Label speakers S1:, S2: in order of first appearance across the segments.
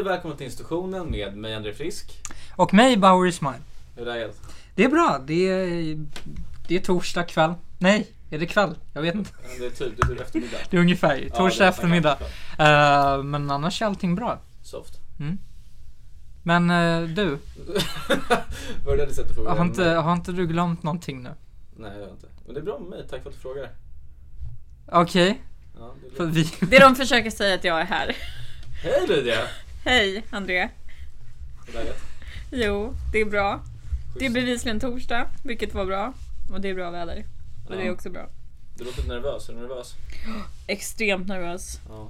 S1: och välkomna till institutionen med mig André Frisk.
S2: Och mig, Bauer Ismail.
S1: Hur är läget?
S2: Det är bra. Det är, det är torsdag kväll. Nej, är det kväll? Jag vet inte.
S1: Det är typ, det är typ eftermiddag.
S2: Det är ungefär
S1: Ja, det
S2: torsdag
S1: är
S2: eftermiddag.
S1: ganska skönt.
S2: Eh, men annars är allting bra.
S1: Soft.
S2: Men eh, du,
S1: Var det det sättet att fråga?
S2: har inte,
S1: mig?
S2: har inte du glömt någonting nu?
S1: Nej, det har jag inte. Men det är bra med mig. Tack för att du frågar.
S2: Okej,
S1: Ja, det är
S2: för
S1: bra.
S2: vi...
S3: Det de försöker säga att jag är här.
S1: Hej Lydia!
S3: Hej André.
S1: Hur är läget?
S3: Jo, det är bra. Det är bevisligen torsdag, vilket var bra. Och det är bra väder. Och det är
S1: Ja.
S3: också bra.
S1: Du låter lite nervös. Är du nervös?
S3: Extremt nervös.
S1: Ja.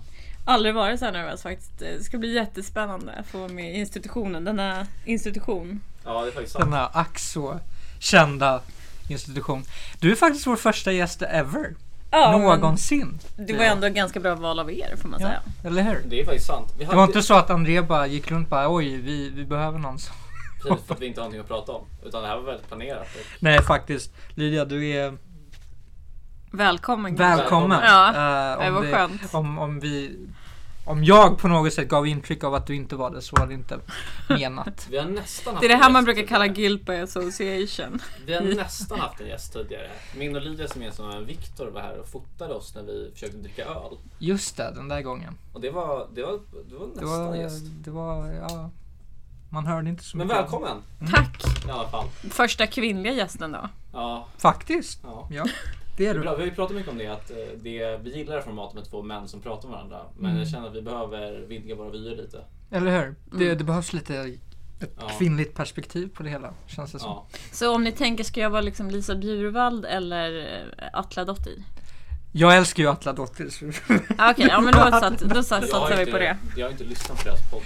S3: Aldrig varit så här nervös faktiskt. Det ska bli jättespännande att få vara med i institutionen, denna institution.
S1: Ja, det är faktiskt sant.
S2: Denna ack så kända institution. Du är faktiskt vår första gäst ever.
S3: Ja, men
S2: Någonsin.
S3: det var ändå ett ganska bra val av er får man
S2: Ja,
S3: säga.
S2: eller hur?
S1: Det är faktiskt sant. Vi
S2: Det var inte så att André bara gick runt bara oj, vi, vi behöver någon som...
S1: precis för att vi inte har någonting att prata om. Utan det här var väldigt planerat. Och
S2: Nej faktiskt. Lydia, du är
S3: Välkommen.
S2: välkommen.
S3: Ja,
S2: Eh, om
S3: det var skönt.
S2: Om, om vi... Om jag på något sätt gav intryck av att du inte var det så var det inte menat.
S1: Vi har nästan haft
S3: Det är det
S1: en
S3: här man
S1: gäst
S3: brukar kalla
S1: tidigare.
S3: guilt by association.
S1: Vi har nästan haft en gäst tidigare. Min och Lydias gemensamma vän Viktor var här och fotade oss när vi försökte dricka öl.
S2: Just det, den där gången.
S1: Och det var, det var, det var
S2: Det
S1: nästan
S2: var...
S1: gäst.
S2: Det var ja, man hörde inte så
S1: Men
S2: mycket. om-
S1: välkommen
S3: Tack!
S1: i alla fall.
S3: Första kvinnliga gästen då.
S1: Ja,
S2: Faktiskt.
S1: ja.
S2: Ja,
S1: Det
S2: det är
S1: är
S2: du.
S1: bra. Vi har ju pratat mycket om det att eh, det, vi gillar det här formatet med två män som pratar med varandra. Men jag känner att vi behöver vidga våra vyer lite.
S2: Eller hur? Det,
S3: Mm.
S2: det behövs lite ett
S1: Ja.
S2: kvinnligt perspektiv på det hela, känns det som.
S1: Ja.
S3: Så om ni tänker, ska jag vara liksom Lisa Bjurvald eller eh, Atla Dotti?
S2: Jag älskar ju Atla Dottir. så-
S3: Ah, Okej, ja, men då, satt, då satt,
S1: har
S3: satsar vi
S1: inte-
S3: på det.
S1: Jag har inte lyssnat på deras podd.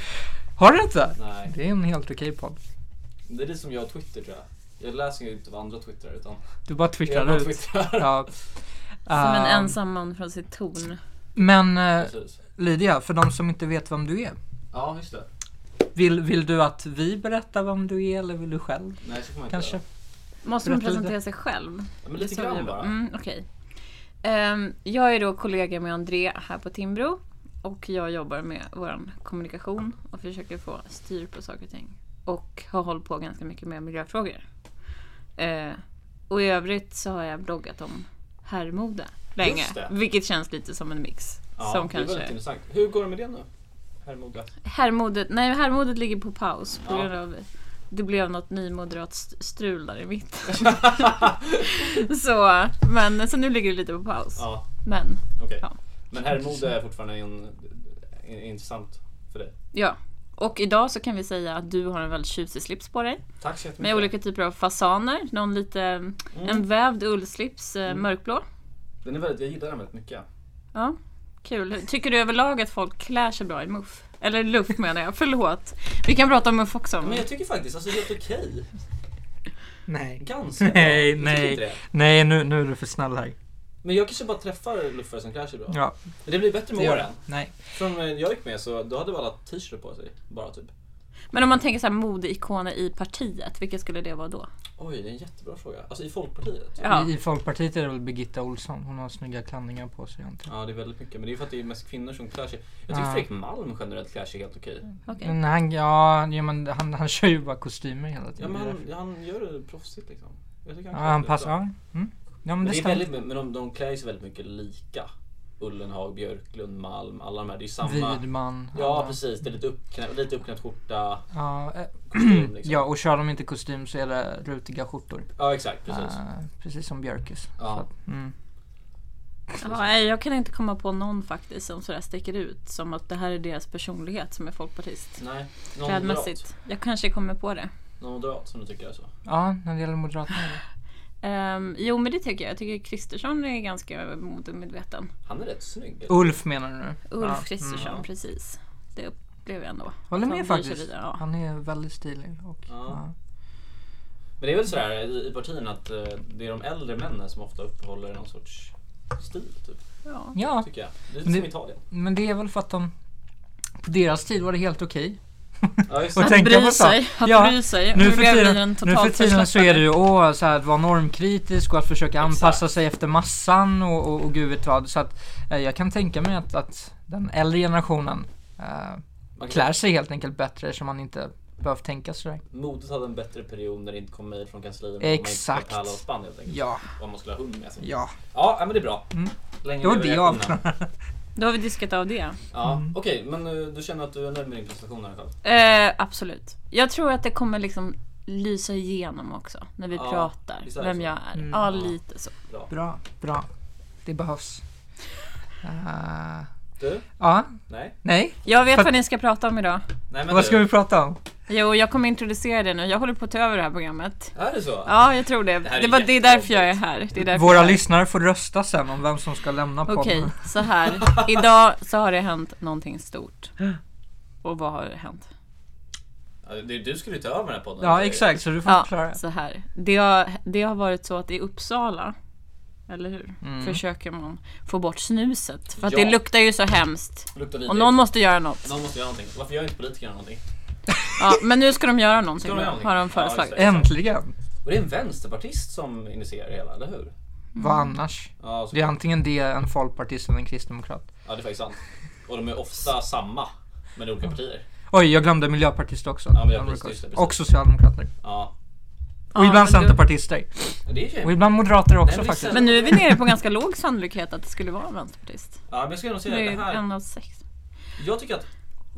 S2: Har du inte?
S1: Nej.
S2: Det är en helt okej podd.
S1: Det är lite som jag och Twitter tror jag. Jag läser ju inte vad andra twittrar utan
S2: Du bara
S1: jag
S2: twittrar
S1: bara
S2: ut.
S1: twittrar.
S2: Ja.
S3: Som en
S2: Ehm,
S3: ensam man från sitt torn.
S2: Men eh,
S1: Precis.
S2: Lydia, för de som inte vet vem du är.
S1: Ja, just det.
S2: Vill, vill du att vi berättar vem du är eller vill du själv?
S1: Nej, så får man inte
S2: Kanske?
S1: göra.
S3: Måste man
S2: berätta lite.
S3: presentera sig själv?
S1: Ja, men lite
S3: Det sa vi
S1: grann
S3: ju.
S1: bara.
S3: Mm, okej. Ehm, jag är då kollega med André här på Timbro. Och jag jobbar med vår kommunikation och försöker få styr på saker och ting. Och har hållit på ganska mycket med miljöfrågor. Eh, och i övrigt så har jag bloggat om herrmode länge.
S1: Just det.
S3: Vilket känns lite som en mix.
S1: Ja,
S3: som
S1: det är väldigt
S3: kanske...
S1: intressant. Hur går det med det nu? Herr Moga?
S3: Herrmodet, nej herrmodet ligger på paus på
S1: Ja.
S3: grund av det blev något nymoderat st- strul där i mitten. så, men, så nu ligger det lite på paus.
S1: Ja,
S3: Men
S1: okej.
S3: Ja.
S1: Men herrmode är fortfarande en, en, intressant för dig.
S3: ja. Och idag så kan vi säga att du har en väldigt tjusig slips på dig.
S1: Tack så jättemycket.
S3: Med olika typer av fasaner. Någon lite,
S1: Mm.
S2: Mm.
S3: En vävd ullslips, eh, mörkblå.
S1: Den är väldigt, jag gillar den väldigt mycket.
S3: Ja, kul. Tycker du överlag att folk klär sig bra i muff? Eller luff menar jag, förlåt. Vi kan prata om muff också.
S1: Men jag tycker faktiskt, alltså helt okej.
S2: Nej.
S1: Ganska bra.
S2: Nej,
S1: Jag tycker
S2: nej.
S1: inte det.
S2: Nej, nu, nu är du för snäll här.
S1: Men jag kanske bara träffar luffare som klär sig bra.
S2: Ja,
S1: Men det blir bättre
S2: det
S1: med
S2: gör
S1: åren.
S2: det. Nej.
S1: Från när jag gick med så då hade vi alla t-shirt på sig. Bara typ.
S3: Men om man tänker så här modeikoner i partiet, vilka skulle det vara då?
S1: Oj, det är en jättebra fråga. Alltså i Folkpartiet.
S3: Ja.
S2: I, I Folkpartiet är det väl Birgitta Olsson. Hon har snygga klänningar på sig. antar
S1: Ja, det är väldigt mycket. Men det är för att det är mest kvinnor som klär sig. Jag tycker
S2: Ja. Mm.
S1: Fredrik Malm generellt klär sig helt okej.
S3: Okej.
S2: Men han, ja, ja, men han, han kör ju bara kostymer hela
S1: Ja,
S2: tiden.
S1: men
S2: Det är därför.
S1: han, han gör det proffsigt liksom. Jag tycker klär
S2: Mm. ja,
S1: sig
S2: han
S1: väldigt
S2: passar.
S1: bra.
S2: Ja. Mm. ja, men
S1: Men,
S2: det
S1: det är
S2: stämmer.
S1: väldigt, men de, de klär sig väldigt mycket lika. Ullenhag, Björklund, Malm, alla de här. Det är ju samma.
S2: Widman.
S1: Ja
S2: alla.
S1: precis, det är lite, uppknä, lite uppknäppt skjorta.
S2: Ja, eh,
S1: Kostym, liksom.
S2: ja, och kör de inte kostym så är det rutiga skjortor.
S1: Ja exakt, precis.
S2: Eh, precis som Björkes.
S1: Ja.
S2: Så att, mm.
S3: Ja, nej, jag kan inte komma på någon faktiskt som sådär sticker ut. Som att det här är deras personlighet som är folkpartist.
S1: Nej, någon moderat.
S3: Klädmässigt. Jag kanske kommer på det.
S1: Någon moderat som du tycker är så.
S2: ja, när det gäller Moderaterna. är det.
S3: Ehm, jo men det tycker jag. Jag tycker Kristersson är ganska modemedveten.
S1: Han är rätt snygg.
S2: Ulf menar du nu?
S3: Ulf
S2: ja. Mm.
S3: Kristersson, precis. Det upplever jag ändå.
S2: Håller
S3: Att
S2: med
S3: han bryr sig
S2: faktiskt.
S3: vidare, ja.
S2: Han är väldigt stilig. Och,
S1: Ja.
S2: ja.
S1: Men det är väl sådär i, i partierna att eh, det är de äldre männen som ofta uppehåller någon sorts stil typ.
S3: Ja.
S2: ja,
S1: Tycker jag. Det är
S2: Men
S1: lite
S2: det-
S1: som Italien.
S2: men det är väl för att de på deras tid var det helt okej.
S1: Ja, just
S2: Och
S1: det.
S3: Att
S2: tänka på
S3: bry
S2: så.
S3: sig. Att
S2: Ja,
S3: bry sig.
S2: Nu
S3: blev
S2: för,
S3: vi
S2: tiden,
S3: en
S2: nu för
S3: total
S2: tiden så är
S3: förslappare.
S2: det ju åh, så här, att vara normkritisk och att försöka anpassa
S1: Exakt.
S2: sig efter massan och, och, och gud vet vad. Så att eh, jag kan tänka mig att, att den äldre generationen eh,
S1: Man kan-
S2: klär sig helt enkelt bättre så man inte behöver tänka sådär.
S1: Modet hade en bättre period när det inte kom mejl från kansliet.
S2: Exakt.
S1: Man inte spann helt enkelt.
S2: Ja,
S1: Och man skulle ha hund med sig. Ja,
S2: ja.
S1: ja, men det är bra.
S2: Mm.
S1: Länge
S2: Det var
S1: lever
S2: det
S1: reaktionen.
S2: avklarat.
S3: Då har vi diskat av det.
S1: Ja,
S2: Mm.
S1: okej, men eh, du känner att du är nöjd med din prestation i alla fall?
S3: Eh, absolut. Jag tror att det kommer liksom lysa igenom också när vi
S1: Ja, visst är
S3: pratar
S1: det
S3: vem
S1: så?
S3: jag är.
S2: Mm.
S3: Ja, lite så.
S1: Bra.
S2: Bra, bra. Det behövs. Eh,
S1: Du?
S2: ja,
S1: Nej?
S2: nej.
S3: Jag vet
S2: För-
S3: vad ni ska prata om idag.
S1: Nej men
S2: Vad ska
S1: du,
S2: vi prata om?
S3: Jo, jag kommer introducera det nu. Jag håller på att ta över det här programmet.
S1: är det så?
S3: Ja, jag tror det.
S1: Det här
S3: Det,
S1: är
S3: var, det är
S1: jättejobbigt.
S3: därför jag är här. Det är därför
S2: Våra
S3: jag är här.
S2: lyssnare får rösta sen om vem som ska lämna podden.
S3: Okej, så här. Idag så har det hänt någonting stort. Och vad har hänt?
S1: Ja, det- Du skulle ju ta över den här podden.
S2: Ja, exakt. Så du får förklara.
S3: Ja, så här. Det har, det har varit så att i Uppsala, eller hur?
S2: Mm.
S3: Försöker man få bort snuset. För att
S1: Ja.
S3: det luktar ju så hemskt.
S1: Luktar vidrigt.
S3: Och någon måste göra något.
S1: Någon måste göra någonting. Varför gör inte politikerna någonting?
S3: Ja, men nu ska de göra någonting,
S1: Ska de göra någonting?
S3: har de
S1: Ja, just
S3: föreslagit.
S1: det.
S2: Äntligen!
S1: Och det är en vänsterpartist som initierar det hela, eller hur?
S2: Vad
S1: Mm.
S2: annars?
S1: Ja, så,
S2: Det är antingen det, en folkpartist eller en kristdemokrat.
S1: ja, det är faktiskt sant. Och de är ofta samma, men i olika partier.
S2: Oj, jag glömde miljöpartister också.
S1: Ja, miljöpartister, just det, precis.
S2: och socialdemokrater.
S1: Ja.
S2: Och
S3: men
S2: ibland
S3: du-
S2: centerpartister.
S1: Det är ju...
S2: Och ibland moderater
S1: Nej,
S2: också
S1: men
S2: faktiskt.
S1: visst.
S3: Men nu är vi nere på ganska låg sannolikhet att det skulle vara en vänsterpartist.
S1: Ja, men jag skulle nog
S3: Det
S1: säga det
S3: är
S1: här.
S3: en av sex.
S1: Jag tycker att,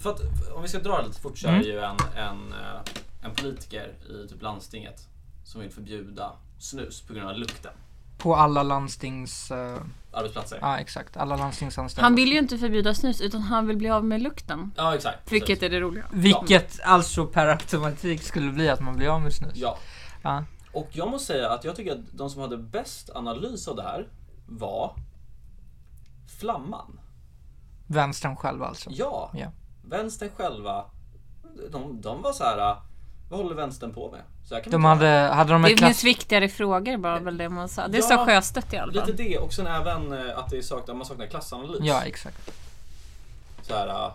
S1: för att om vi ska dra det lite fort så
S2: Mm.
S1: är det ju en, en, eh, en politiker i typ landstinget som vill förbjuda snus på grund av lukten.
S2: På alla landstings... eh,
S1: Arbetsplatser.
S2: ja, exakt. Alla landstingsanställda.
S3: Han vill ju inte förbjuda snus utan han vill bli av med lukten.
S1: Ja, exakt.
S3: Vilket
S1: precis.
S3: är det roliga.
S2: Mm, Vilket alltså per automatik skulle bli att man blir av med snus.
S1: Ja.
S2: Ja.
S1: Och jag måste säga att jag tycker att de som hade bäst analys av det här var Flamman.
S2: Vänstern själv alltså.
S1: Ja.
S2: Ja.
S1: Vänstern själva, de, de var så här. vad håller vänstern på med? Så här kan
S2: De
S1: man inte
S2: hade, hade de
S3: Det
S2: ett
S3: finns
S2: klass...
S3: viktigare frågor bara väl det man sa. Det
S1: Ja.
S3: sa Sjöstedt i alla
S1: göra.
S3: fall.
S1: Lite det och sen även eh, att det saknar, man saknar klassanalys.
S2: Ja, exakt.
S1: så här, äh,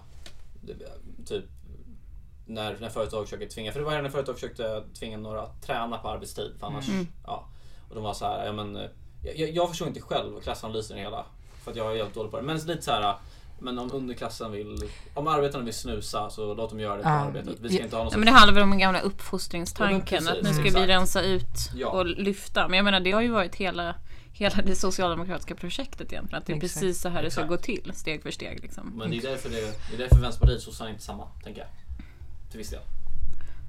S1: det- typ när, när företag försöker tvinga, för det var här när företag försökte tvinga några att träna på arbetstid för annars,
S3: Mm.
S1: ja. Och de var så här, ja men eh, jag, jag förstår inte själv klassanalysen i hela, för att jag är helt dålig på det. Men lite så här, äh, men om underklassen vill, om arbetarna vill snusa så låt dem göra det på
S2: Ja.
S1: arbetet. Vi ska inte ha någon
S3: Ja, men
S1: sorts,
S3: det handlar väl om den gamla
S1: Ja,
S3: uppfostringstanken.
S1: men precis,
S3: att nu ska
S1: exakt.
S3: vi rensa ut
S1: Ja.
S3: och lyfta. Men jag menar det har ju varit hela, hela det socialdemokratiska projektet egentligen. Att det är
S2: Exakt.
S3: precis så här det ska
S1: Exakt. Mm.
S3: gå till, steg för steg. Liksom.
S1: men det är därför, det, det är därför Vänsterpartiet och sossarna är inte samma, tänker jag. Till viss del.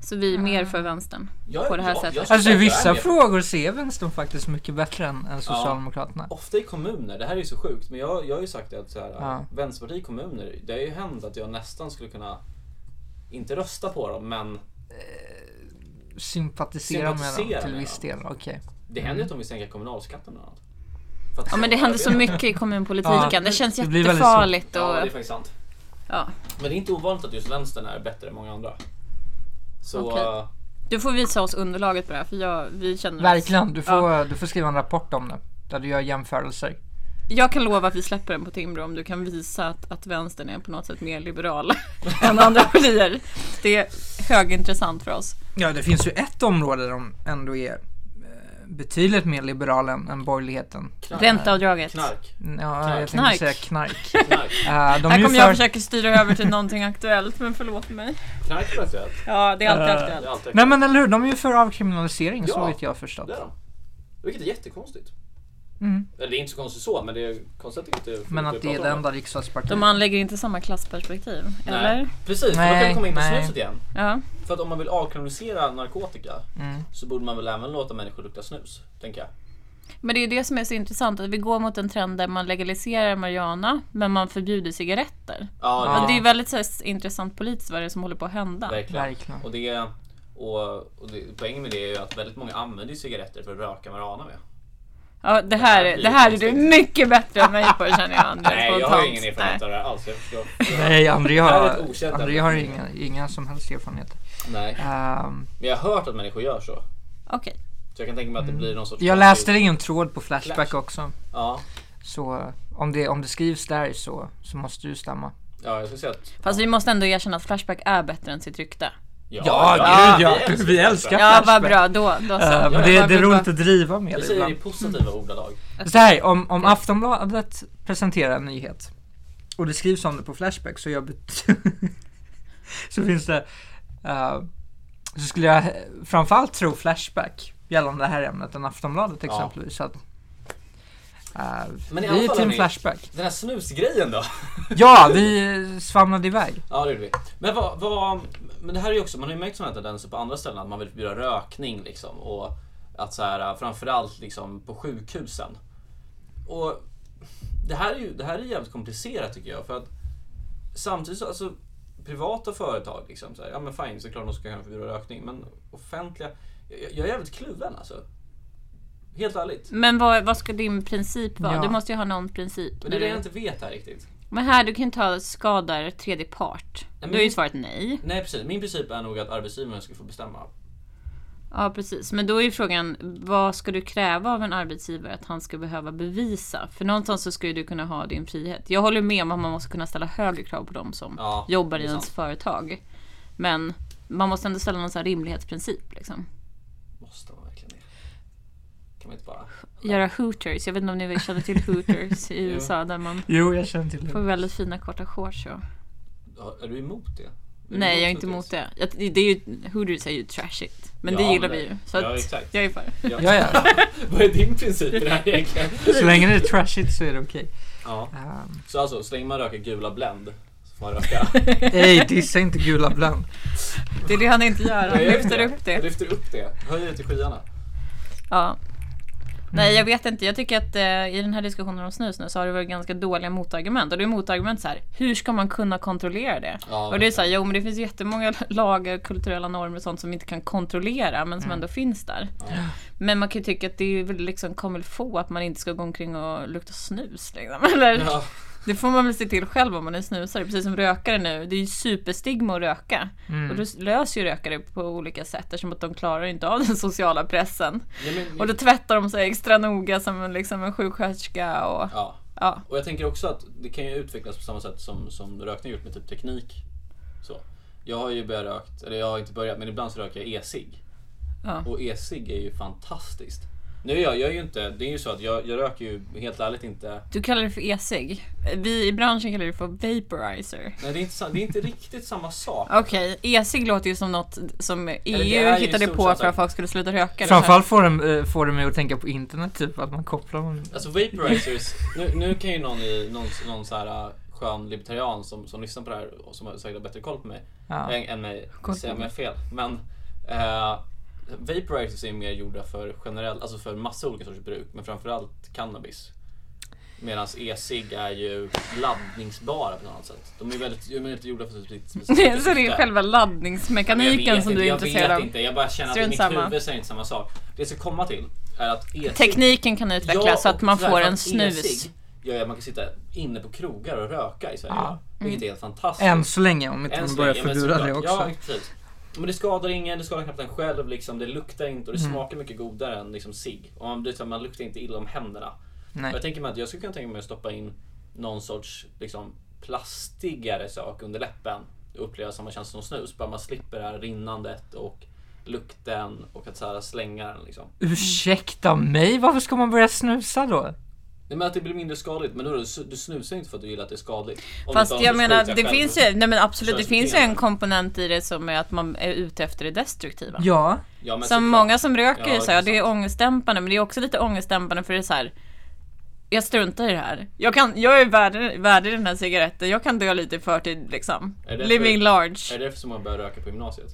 S3: Så vi är mer för vänstern.
S1: Jag,
S3: På det här
S1: jag,
S3: sättet.
S1: jag skulle
S2: Alltså i
S1: säga att jag är
S2: vissa
S1: mer-
S2: frågor ser vänstern faktiskt mycket bättre än, än Socialdemokraterna.
S1: Ofta i kommuner, det här är ju så sjukt, men jag, jag har ju sagt det att så här,
S2: Ja.
S1: Vänsterpartiet i kommuner, det har ju hänt att jag nästan skulle kunna, inte rösta på dem, men
S2: Sympatisera med dem
S1: Sympatisera
S2: till
S1: med
S2: viss
S1: dem.
S2: del. Okej.
S1: det händer ju att de vill sänka kommunalskatten eller annat. För att-
S3: Ja men det händer så mycket i kommunpolitiken.
S2: Ja,
S3: det känns
S2: det blir väldigt
S3: jättefarligt.
S1: Ja, det är
S3: Och,
S1: faktiskt sant.
S3: ja.
S1: Men det är inte ovanligt att just vänstern är bättre än många andra. Så,
S3: Okej.
S1: eh,
S3: Du får visa oss underlaget på det här för jag, vi känner oss.
S2: Verkligen. Du får, du får skriva en rapport om det. Där du gör jämförelser.
S3: Jag kan lova att vi släpper den på Timbro om du kan visa att, att vänstern är på något sätt mer liberal än andra partier. Det är högintressant för oss.
S2: Ja, det finns ju ett område där de ändå är eh, betydligt mer liberala än, än borgerligheten.
S1: knark.
S3: Ränteavdraget.
S1: Knark.
S2: Ja, jag
S3: Knark.
S2: tänkte säga knark.
S1: Knark.
S2: Eh, de är
S3: Här
S2: ju
S3: kommer jag
S2: för-
S3: försöka styra över till någonting aktuellt, men förlåt mig.
S1: Knark är aktuellt.
S3: Ja, det är alltid
S2: Eh,
S1: Det är alltid
S3: aktuellt.
S2: Nej
S1: aktuellt.
S2: men eller hur, de är ju för avkriminalisering så
S1: Ja.
S2: vet jag förstått.
S1: Det är de. Vilket är jättekonstigt.
S2: Mm.
S1: Eller det är inte så konstigt så, men det är konstigt att det inte...
S2: Men att det är
S1: pratar
S2: det
S1: om
S2: enda riksdagspartiet.
S3: De anlägger inte samma klassperspektiv, eller?
S1: Nej, precis. för då kan
S2: Nej,
S1: vi komma in på
S2: nej.
S1: snuset igen.
S3: Ja.
S1: För att om man vill avkriminalisera narkotika
S2: Mm.
S1: så borde man väl även låta människor lukta snus, tänker jag.
S3: Men det är ju det som är så intressant, att vi går mot en trend där man legaliserar marijuana, men man förbjuder cigaretter.
S1: Ja,
S2: Ja.
S3: Det är ju väldigt så här, intressant politiskt vad det är som håller på att hända.
S1: verkligen.
S2: Verkligen.
S1: Och, det, och, och det, poängen med det är ju att väldigt många använder ju cigaretter för att röka marijuana med.
S3: Ja, det här,
S1: Det här blir
S3: det här är du
S1: konstigt.
S3: mycket bättre än mig på känner jag Andreas.
S1: Nej, jag har
S3: spontant.
S1: ingen erfarenhet av det här alls. Jag förstår.
S2: Nej, André
S1: Det här är
S2: har,
S1: ett okänt
S2: André har
S1: ämne.
S2: inga, inga som helst erfarenheter.
S1: Nej.
S2: Ehm,
S1: Men jag har hört att människor gör så.
S3: Nej. Okej.
S1: Så jag kan tänka mig att det blir någon sorts...
S2: Mm. jag läste det i en tråd på Flashback
S1: Flash.
S2: också.
S1: Ja,
S2: Så eh, om det, om det skrivs där så, så måste du stämma.
S1: ja jag skulle säga att...
S3: Fast vi måste ändå erkänna att Flashback är bättre än sitt rykte.
S1: Ja,
S2: gud, ja. Vi älskar-
S3: Ja, vad
S2: Flashback.
S3: bra. Då, då så.
S2: Eh, men
S3: Vad-
S2: det,
S3: vad-
S2: det är
S3: vad-
S2: roligt att driva med
S1: Vi
S2: det
S1: säger det i
S2: ibland.
S1: positiva ordalag.
S2: Så här, om, om Aftonbladet presenterar en nyhet och det skrivs om det på Flashback så gör, bet- så finns det, eh, så skulle jag framförallt tro Flashback gällande det här ämnet än Aftonbladet
S1: Ja.
S2: exempelvis. Så att, eh,
S1: Men i alla
S2: vi är
S1: fall,
S2: team
S1: hörni.
S2: Flashback.
S1: Den här snusgrejen då?
S2: Ja, vi svamlade iväg.
S1: Ja det gjorde vi. Men, vad, vad, men det här är ju också, man har ju märkt sådana här tendenser på andra ställen att man vill förbjuda rökning liksom. Och att så här, framförallt liksom på sjukhusen. Och det här är ju det här är jävligt komplicerat tycker jag. För att samtidigt så, alltså privata företag liksom, så här, ja men fine, såklart de ska kunna förbjuda rökning. Men offentliga, jag, jag är jävligt kluven alltså. Helt ärligt.
S3: Men vad, vad ska din princip vara?
S2: Ja.
S3: Du måste ju ha någon princip.
S1: Men det är
S3: när
S1: det
S3: du-
S1: jag inte vet här riktigt.
S3: Men här, du kan ju inte ha skadar tredje part.
S1: men-
S3: Då är ju svaret nej.
S1: Nej precis, min princip är nog att arbetsgivaren ska få bestämma.
S3: Ja precis, men då är ju frågan vad ska du kräva av en arbetsgivare att han ska behöva bevisa? För någonstans så ska ju du kunna ha din frihet. Jag håller med om att man måste kunna ställa högre krav på dem som
S1: Ja,
S3: jobbar
S1: det
S3: i
S1: är
S3: ens
S1: sant.
S3: företag. Men man måste ändå ställa någon sån här rimlighetsprincip liksom.
S1: Måste man verkligen det? Kan man inte bara...
S3: Göra hooters, jag vet inte om ni känner till hooters i
S1: Jo.
S3: USA där man
S2: Jo, jag känner till
S3: får
S2: det.
S3: väldigt fina korta shorts och...
S1: Ja, Är du emot det? Är du
S3: Nej jag är inte emot det. Jag, det är ju, hooters är ju trashigt. Men
S1: Ja,
S3: det
S1: men
S3: gillar
S1: det-
S3: vi ju. Så
S1: ja,
S3: att
S1: exakt.
S3: jag är för.
S1: Ja.
S2: Ja, ja.
S1: Vad är din princip i det här egentligen?
S2: Så länge det är trashigt så är det okej.
S1: ja.
S2: Ehm,
S1: Så alltså, så länge man röker gula Blend så får man röka.
S2: Ej, dissa inte gula Blend.
S3: Det är det han inte gör, han
S1: Jag gör
S3: lyfter upp det.
S1: Lyfter upp det. Höjer det till skyarna.
S3: Ja. Nej jag vet inte, jag tycker att eh, i den här diskussionen om snus nu så har det varit ganska dåliga motargument. Och det är motargument så här, hur ska man kunna kontrollera det?
S1: Ja,
S3: och det är så här, jo men det finns jättemånga lagar, kulturella normer och sånt som vi inte kan kontrollera men
S1: Mm.
S3: som ändå finns där. Men man kan ju tycka att det är väl liksom kommer få att man inte ska gå omkring och lukta snus liksom. Eller,
S1: Ja,
S3: Det får man väl se till själv om man är snusare, precis som rökare nu. Det är ju superstigma att röka.
S2: Mm.
S3: Och
S1: Mm.
S3: då löser ju rökare på olika sätt eftersom att de klarar ju inte av den sociala pressen.
S1: Ja, men,
S3: Och då tvättar de sig extra noga som en, liksom en sjuksköterska och
S1: ja.
S3: ja.
S1: Och jag tänker också att det kan ju utvecklas på samma sätt som, som rökning gjort med typ teknik. Så. Jag har ju börjat rökt, eller jag har inte börjat, men ibland så röker jag e-cigg.
S3: Ja.
S1: Och e-cigg är ju fantastiskt. Nu är jag, jag är ju inte, det är ju så att jag, jag röker ju helt ärligt inte
S3: Du kallar det för e-cigg. Vi i branschen kallar det för vaporizer.
S1: Nej, det är inte, sa- det är inte riktigt samma sak.
S3: Okej, e-cigg låter ju som något som
S1: det
S3: EU
S1: är ju
S3: hittade
S1: stort
S3: på
S1: sett
S3: för att
S1: att-
S3: folk skulle sluta röka.
S2: Framförallt får, den, eh, får det mig att tänka på internet, typ att man kopplar dem.
S1: Alltså vaporizers, nu, nu kan ju någon, i, någon, någon så här äh, skön libertarian som, som lyssnar på det här och som har säkert har bättre koll på mig
S2: Ja.
S1: än, än mig,
S3: Koll
S1: säga
S3: på
S1: om jag har fel. Men eh, vaporizers är mer gjorda för generellt, alltså för massa olika sorters bruk, men framförallt cannabis. Medan e-cigg är ju laddningsbara på något annat sätt. De är ju väldigt, de är inte gjorda för sitt specifika
S3: Så det är
S1: syfte.
S3: själva
S1: Men jag
S3: laddningsmekaniken
S1: vet
S3: som
S1: inte,
S3: du är
S1: jag
S3: intresserad
S1: vet
S3: av.
S1: inte, jag bara känner att i
S3: Strunt
S1: mitt
S3: samma.
S1: huvud säger inte samma sak. Det jag ska komma till är att e-cigg-
S3: Tekniken kan utvecklas
S1: Ja,
S3: så att
S1: och
S3: man
S1: tyvärr
S3: får
S1: för
S3: en
S1: att
S3: snus.
S1: e-cigg gör att man kan sitta inne på krogar och röka i Sverige.
S2: Ja.
S1: va? Vilket är helt
S3: Mm.
S1: fantastiskt.
S2: Än så länge, om inte
S1: Än
S2: man
S1: så
S2: börjar
S1: länge, men
S2: förbjuda
S1: såklart.
S2: det
S1: Ja,
S2: också.
S1: precis. Men det skadar ingen, det skadar knappt en själv liksom. Det luktar inte och
S3: Mm.
S1: det smakar mycket godare än liksom cigg. Och man, blir så här, man luktar inte illa om händerna. Och
S2: Nej.
S1: Jag tänker mig att jag skulle kunna tänka mig att stoppa in någon sorts liksom, plastigare sak under läppen och uppleva samma känsla som snus. Bara man slipper det här rinnandet och lukten och att så här slänga den liksom.
S2: Ursäkta mig, varför ska man börja snusa då?
S1: Nej, men att det blir mindre skadligt. Men då, du snusar inte för att du gillar att det är skadligt. Om du
S3: Fast
S1: inte
S3: jag
S1: har
S3: menar,
S1: skjutit
S3: det
S1: själv.
S3: finns ju, nej men absolut, det
S1: Könsbeteende.
S3: finns ju en komponent i det som är att man är ute efter det destruktiva.
S2: Ja,
S1: Ja, men
S3: Som
S1: såklart.
S3: många som röker
S1: Ja,
S3: ju så här, ja,
S1: det är
S3: det är ångestdämpande, men det är också lite ångestdämpande för det är så här. Jag struntar i det här. Jag, kan, jag är värd, värd i den här cigaretten, jag kan dö lite i förtid liksom.
S1: Är det
S3: Living
S1: för-
S3: large.
S1: Är det därför som man börjar röka på gymnasiet?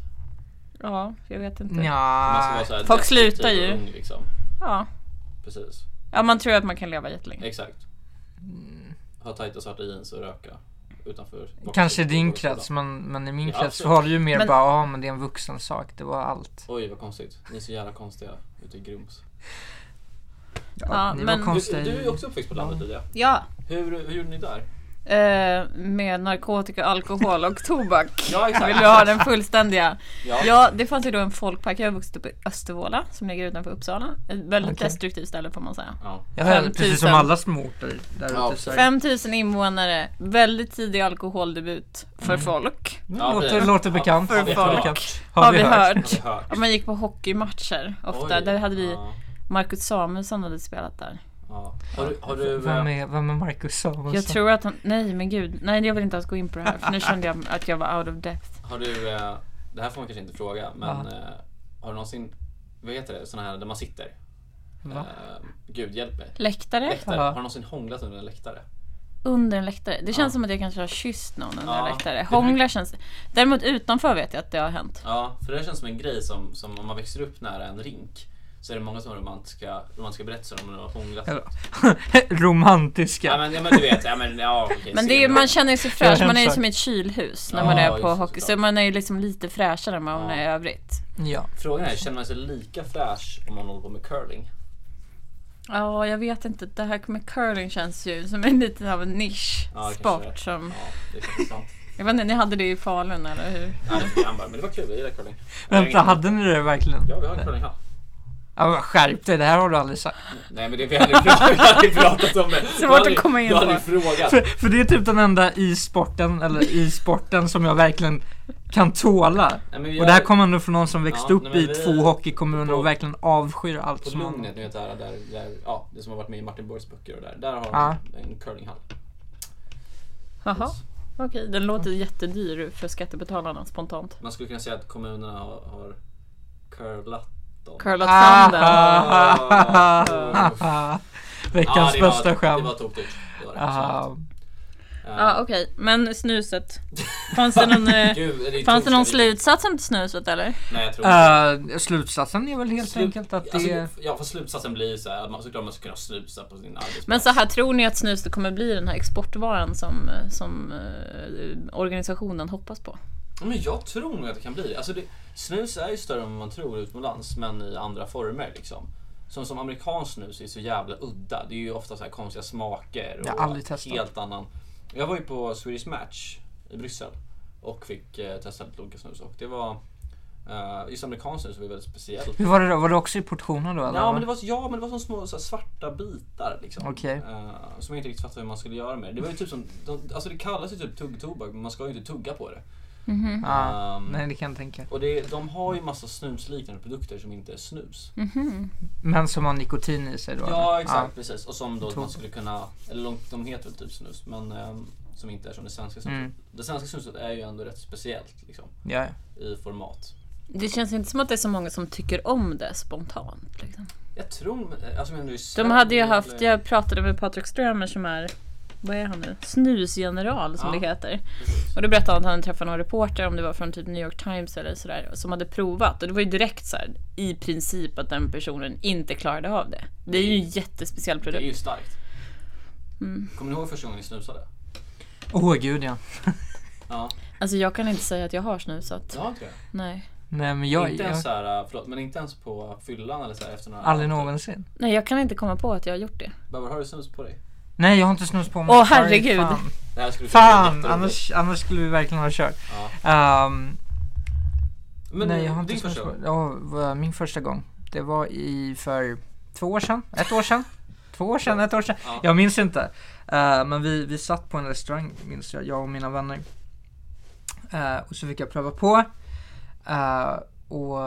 S3: Ja, jag vet inte. Ja.
S1: Man ska vara
S2: ja.
S1: så här
S3: Ah, Folk
S1: destruktiv
S3: slutar ju.
S1: och Ung, liksom.
S3: Ja.
S1: Precis.
S3: man tror att man kan leva jättelänge.
S1: Exakt.
S3: Mm.
S1: Ha tajta svarta jeans och röka. Utanför.
S2: Kanske i din krets, men, men i min
S1: Ja,
S2: krets
S1: absolut.
S2: var det ju mer
S3: Men-
S2: bara, ja men det är en vuxen sak, det var allt.
S1: Oj vad konstigt. Ni är så jävla konstiga ute i Grums.
S2: Ja,
S3: Ja,
S2: ni
S3: men-
S2: var
S1: Du,
S2: konstiga.
S1: du är
S2: i-
S1: ju också uppväxt på landet Lydia.
S3: Ja.
S1: Hur, hur gjorde ni där?
S3: Eh, med narkotika, alkohol och tobak.
S1: Ja exakt.
S3: Vill du ha den fullständiga?
S1: Ja.
S3: Ja, det fanns ju då en folkpark. Jag har vuxit upp i Östervåla som ligger utanför Uppsala. Ett väldigt
S2: Okej.
S3: destruktivt ställe får man säga.
S1: Ja.
S2: Jag hör,
S3: 5 000.
S2: precis som alla småorter där
S1: Ja,
S2: ute. så här.
S3: 5000 invånare, väldigt tidig alkoholdebut för folk.
S2: Mm,
S1: Ja,
S2: låter,
S1: precis.
S2: låter bekant.
S1: Ja, för
S2: låter
S1: folk.
S2: bekant.
S3: Har vi hört.
S1: Har vi hört?
S3: Ja, man gick på hockeymatcher ofta.
S1: Oj.
S3: Där hade vi
S1: Ja.
S3: Marcus Samuelsson hade spelat där.
S1: Ja. Ja. Har du, har du,
S2: Vad
S1: eh,
S2: med, vad med Marcus Samuelsson?
S3: Jag tror att han... Nej men gud. Nej jag vill inte ens gå in på det här. För nu kände jag att jag var out of depth.
S1: har du eh, det här får man kanske inte fråga, men
S2: Ja.
S1: eh, har du någonsin, vad heter det, sådana här där man sitter?
S2: Va?
S1: Eh, Gud hjälp mig.
S3: Läktare?
S1: Läktare.
S2: Ja.
S1: Har du någonsin hånglat under en läktare?
S3: Under en läktare. Det känns
S1: Ja.
S3: som att jag kanske har kysst någon under en
S1: Ja.
S3: läktare.
S1: Det-
S3: Hånglar känns... Däremot utanför vet jag att det har hänt.
S1: Ja, för det känns som en grej som, som om man växer upp nära en rink så är det många som har romantiska, romantiska berättelser om när de har hånglat.
S2: Eller- Romantiska.
S1: Ja men, ja men du vet, ja men ja okej,
S3: Men det är,
S1: ser
S3: ju-
S1: du.
S3: man känner ju sig
S2: Jag
S3: fräsch,
S2: har
S3: man är ju
S2: hemsökt.
S3: som i ett kylhus när
S1: Ja,
S3: man är
S1: just
S3: på
S1: det,
S3: hockey. Så
S1: såklart.
S3: man är ju liksom lite fräschare än vad man
S1: Ja.
S3: är i övrigt.
S2: Ja.
S1: Frågan är, känner man sig lika fräsch om man håller på med curling?
S3: Ja, jag vet inte. Det här med curling känns ju som en liten av en
S1: Ja, det
S3: nischsport.
S1: kanske det.
S3: som,
S1: Ja, det är kanske sant.
S3: jag vet inte, ni hade det i Falun eller hur?
S1: Nej, det är grann bara, men det var kul, jag gillar curling.
S2: Vänta, hade ni det verkligen?
S1: Ja, vi har en curlinghall.
S2: Ja, men skärp dig, det här har du aldrig sagt.
S1: Nej men det vi har aldrig pratat- vi har aldrig pratat om det.
S3: Svårt att komma in
S1: på. Du
S3: på.
S1: har aldrig
S2: För,
S1: frågat.
S2: för det är typ den enda i sporten, eller i sporten, som jag verkligen kan tåla.
S1: Nej, men vi
S2: Och det här
S1: har-
S2: kommer ändå från någon som växte
S1: Ja,
S2: upp
S1: nej, men
S2: i
S1: vi-
S2: två hockeykommuner
S1: på-
S2: och verkligen avskyr allt
S1: På
S2: som handlar
S1: Lugnet,
S2: om-
S1: ni vet det här, där, där, ja, det som har varit med i Martin Borgs böcker och där. Där har de
S2: Ja.
S1: en curlinghall.
S3: Jaha, okej. Den låter jättedyr för skattebetalarna spontant.
S1: Man skulle kunna säga att kommunerna har, har curlat dem.
S3: Curlat
S2: Ah,
S3: fram den.
S1: Ah, uff. Ja,
S2: Ah, Veckans
S1: det var-
S2: bästa
S1: Det var
S2: skämt.
S1: tokdyrt. Det var det.
S2: Ah,
S1: absolut. Eh,
S3: Ja, okej. Men snuset. Fanns det någon, eh,
S1: Gud, det är
S3: fanns det någon
S1: tokigt.
S3: slutsats om snuset eller?
S1: Nej, jag tror inte.
S2: eh, slutsatsen är väl helt
S1: Slut-
S2: enkelt att det är...
S1: Alltså, ja, för slutsatsen blir ju så här att man såklart man ska kunna snusa på sin arbetsplats.
S3: Men så här, tror ni att snuset kommer bli den här exportvaran som, eh, som eh, organisationen hoppas på?
S1: Ja, Men jag tror nog att det kan bli det. Alltså det. Snus är ju större än vad man tror utomlands, men i andra former liksom. Som, som amerikansk snus är så jävla udda. Det är ju ofta så här konstiga smaker och
S2: Jag har aldrig testat.
S1: helt annan. Jag var ju på Swedish Match i Bryssel och fick eh, testa lite olika snus och det var eh, just amerikansk snus var ju väldigt speciellt.
S2: Hur var det då? Var det också i portioner då eller?
S1: Ja men, det var, ja men det var som små så här, svarta bitar liksom.
S2: Okej.
S1: Eh, som jag inte riktigt fattade hur man skulle göra med det. Det var ju typ som, de, alltså det kallas ju typ tuggtobak men man ska ju inte tugga på det.
S2: Ah,
S1: Ehm,
S2: nej, det kan jag tänka.
S1: och det, de har ju massa snusliknande produkter som inte är snus.
S3: Mm-hmm.
S2: Men som har nikotin i sig då?
S1: Ja
S2: eller?
S1: exakt precis. Och som då
S2: Tog-
S1: man skulle kunna, eller långt- de heter väl typ snus men ehm, som inte är som det svenska snuset.
S2: Mm.
S1: Det svenska snuset är ju ändå rätt speciellt liksom
S2: Ja.
S1: i format.
S3: Det känns inte som att det är så många som tycker om det spontant. Liksom.
S1: Jag tror, alltså men det är ju
S3: De
S1: Sverige,
S3: hade ju haft,
S1: eller-
S3: jag pratade med Patrik Strömer som är, vad är han nu? Snusgeneral som
S1: Ja.
S3: det heter.
S1: Precis.
S3: Och då berättade han att han träffade någon reporter, om det var från typ New York Times eller sådär, som hade provat. Och det var ju direkt så här, i princip att den personen inte klarade av det. Det är ju en jättespeciell
S1: Det är
S3: produkt. Mm.
S1: ju starkt. Kommer ni ihåg första gången ni snusade?
S2: Åh gud ja.
S1: Ja,
S3: Alltså jag kan inte säga att jag har snusat.
S1: jag har inte det.
S3: Nej.
S2: Nej men jag...
S1: inte
S2: jag
S1: ens så här, eh, förlåt, men inte ens på fyllan eller så här efter några
S2: aldrig någonsin.
S3: Nej, jag kan inte komma på att jag har gjort det.
S1: Barbara, har du snus på dig?
S2: Nej jag har inte snus på mig.
S3: Åh,
S2: Sorry,
S3: herregud.
S2: Fan,
S1: Det här skulle kunna
S2: fan
S1: bli jätteroligt.
S2: annars, annars skulle vi verkligen ha kört.
S1: Ja.
S2: Ehm,
S1: Men
S2: nej jag har inte
S1: din
S2: snus
S1: första
S2: på
S1: gång?
S2: ja, vad- Min första gång. Det var i för två år sedan. Ett år sedan. Två år sedan, ett år sedan.
S1: Ja.
S2: Jag minns inte. Eh, men vi, vi satt på en restaurang minns jag, jag och mina vänner. Eh, och så fick jag pröva på. Eh, och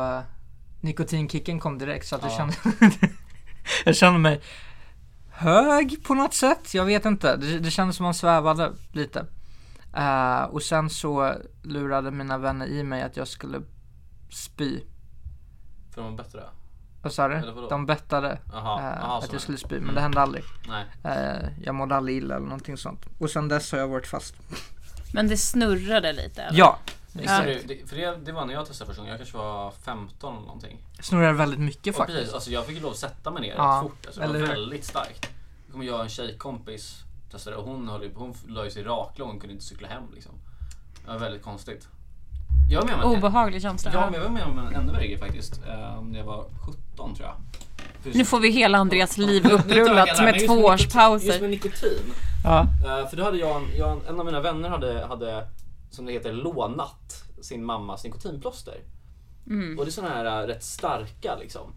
S2: nikotinkicken kom direkt så att jag
S1: Ja.
S2: kände Jag kände mig hög på något sätt. Jag vet inte. Det, det kändes som man svävade lite. Eh, och sen så lurade mina vänner i mig att jag skulle spy.
S1: För de var bättre?
S2: Vad sa du?
S1: Eller vadå?
S2: De bettade
S1: Jaha,
S2: eh,
S1: jaha
S2: att
S1: så
S2: jag
S1: skulle...
S2: skulle spy, men det hände aldrig.
S1: Nej.
S2: Eh, jag mådde aldrig illa eller någonting sånt. Och sen dess har jag varit fast.
S3: Men det snurrade lite. eller?
S2: Ja,
S1: Visste
S2: exakt.
S1: du, det, för det, det var när jag testade första gången, jag kanske var 15 eller någonting.
S2: Snurrar väldigt mycket
S1: Och
S2: faktiskt.
S1: precis, alltså jag fick ju lov att sätta mig ner
S2: Ja,
S1: rätt fort. Alltså det var
S2: eller hur?
S1: väldigt starkt. Då kommer jag och en tjejkompis testade och hon, höll, ju- hon la ju sig raklång och kunde inte cykla hem liksom. Det var väldigt konstigt. Jag var med
S2: Oh,
S1: om en,
S3: Obehaglig känsla.
S1: jag, jag var med om en ännu värre grej faktiskt. eh, När jag var 17 tror jag.
S3: Nu får vi hela Andreas liv
S1: Nu tar jag
S3: upprullat
S1: den, men
S3: med
S1: just nikotin- Just
S3: tvåårspauser.
S1: med nikotin.
S2: Ja.
S1: Eh, För då hade jag, en, jag en, en av mina vänner hade, hade, som det heter, lånat sin mammas nikotinplåster.
S3: Mm.
S1: Och det är sådana här eh, rätt starka liksom.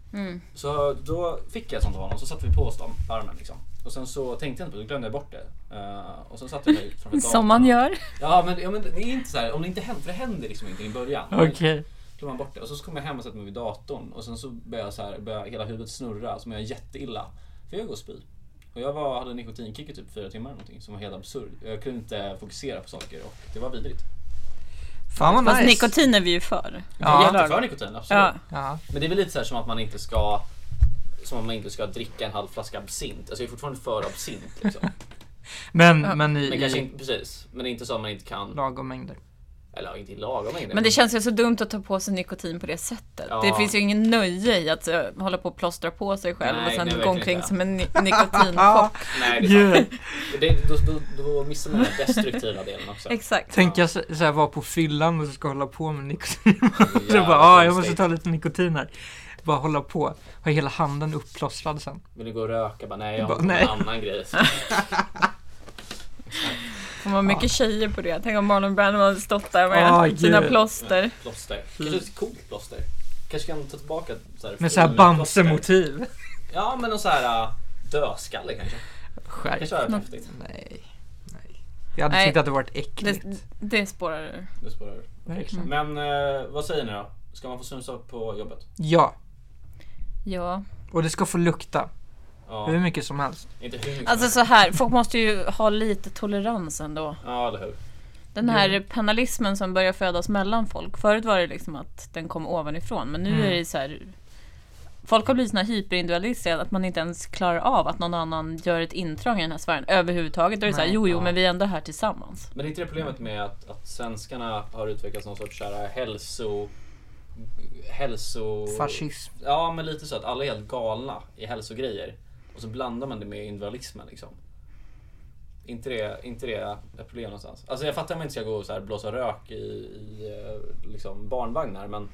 S1: Så då fick jag ett sånt av honom, så satte vi på oss dem på armen liksom. Och sen så tänkte jag inte på det, då glömde jag bort det. Eh, och sen satte jag mig framför datorn.
S3: Som man gör.
S1: Ja men, ja men det är inte så här, om det inte händer, för det händer liksom inte i början.
S2: Okej.
S1: Då man bort det. Och så kommer jag hem och sätter mig vid datorn och sen så börjar, jag så här, börjar hela huvudet snurra så mår jag jätteilla. För jag går och spy. Och jag var, hade en nikotinkick i typ fyra timmar eller någonting som var helt absurd. Jag kunde inte fokusera på saker och det var vidrigt.
S2: Fan vad
S3: Fast
S2: nice.
S3: nikotin är vi ju för.
S1: Jag är
S2: Ja.
S1: inte för nikotin, absolut.
S3: Ja.
S2: Ja.
S1: Men det är väl lite så här som att man inte ska som att man inte ska dricka en halv flaska absint. Alltså jag är fortfarande för absint. Liksom.
S2: Men,
S3: Ja.
S2: men i,
S1: Men kanske
S2: i
S1: inte, precis. Men det är inte så att man inte kan,
S2: lagom mängder.
S1: eller ja, inte i lagom mängder.
S3: Men det känns ju så dumt att ta på sig nikotin på det sättet.
S1: Ja.
S3: Det finns ju ingen nöje i att eh, hålla på och plåstra på sig själv
S1: Nej,
S3: och
S1: nej,
S3: sen gå
S1: verkligen
S3: omkring
S1: inte.
S3: som en ni- nikotinchock.
S1: Nej, det är
S2: Gud.
S1: sant. det, då, då, då missar man den destruktiva delen också.
S3: Exakt.
S2: Tänk jag så- såhär vara på fyllan och så ska hålla på med nikotin. så
S1: Jävla
S2: bara, ah, jag måste
S1: konstigt.
S2: ta lite nikotin här. Bara hålla på. Ha hela handen uppplåstrad sen.
S1: Vill du gå och röka? Bara, nej, jag
S2: Bara,
S1: har
S2: nej.
S1: en annan grej. Så,
S3: Det var mycket tjejer på det. Tänk om Marlon Brando hade stått där med
S2: Ah,
S3: sina
S2: gud.
S3: plåster.
S2: Mm.
S1: plåster. Kanske ett coolt plåster. Kanske kan ta tillbaka så här,
S2: Med såhär
S1: plåster.
S2: Bamse-motiv.
S1: Ja, men någon så här äh, dödskalle kanske.
S2: Skärp.
S1: Kanske hade varit häftigt.
S2: Nej. Nej. Jag hade
S3: Nej.
S2: tyckt att det varit
S3: Det,
S2: äckligt.
S3: det spårar ur.
S1: Det spårar ur.
S2: Verkligen.
S1: Men eh, vad säger ni då? Ska man få snusa på jobbet?
S2: Ja.
S3: Ja.
S2: Och det ska få lukta. Hur
S1: Ja,
S2: mycket som helst.
S1: inte hur mycket
S3: Alltså
S1: som helst.
S3: så här, folk måste ju ha lite tolerans ändå.
S1: Ja, eller hur.
S3: Den här penalismen som börjar födas mellan folk. Förut var det liksom att den kom ovanifrån men nu
S2: Mm.
S3: är det så här Folk har blivit såna hyperindividualister att man inte ens klarar av att någon annan gör ett intrång i den här sfären överhuvudtaget. Då är det såhär,
S2: Nej,
S3: jo jo
S2: ja.
S3: men vi är ändå här tillsammans.
S1: Men är inte det problemet med att, att svenskarna har utvecklat någon sorts så här äh, hälso... Hälso...
S2: Fascism.
S1: Ja, men lite så att alla är helt galna i hälsogrejer. Och så blandar man det med individualismen liksom. Inte det, inte det ett problem någonstans. Alltså jag fattar att man inte ska gå och så här blåsa rök i, i eh, liksom barnvagnar men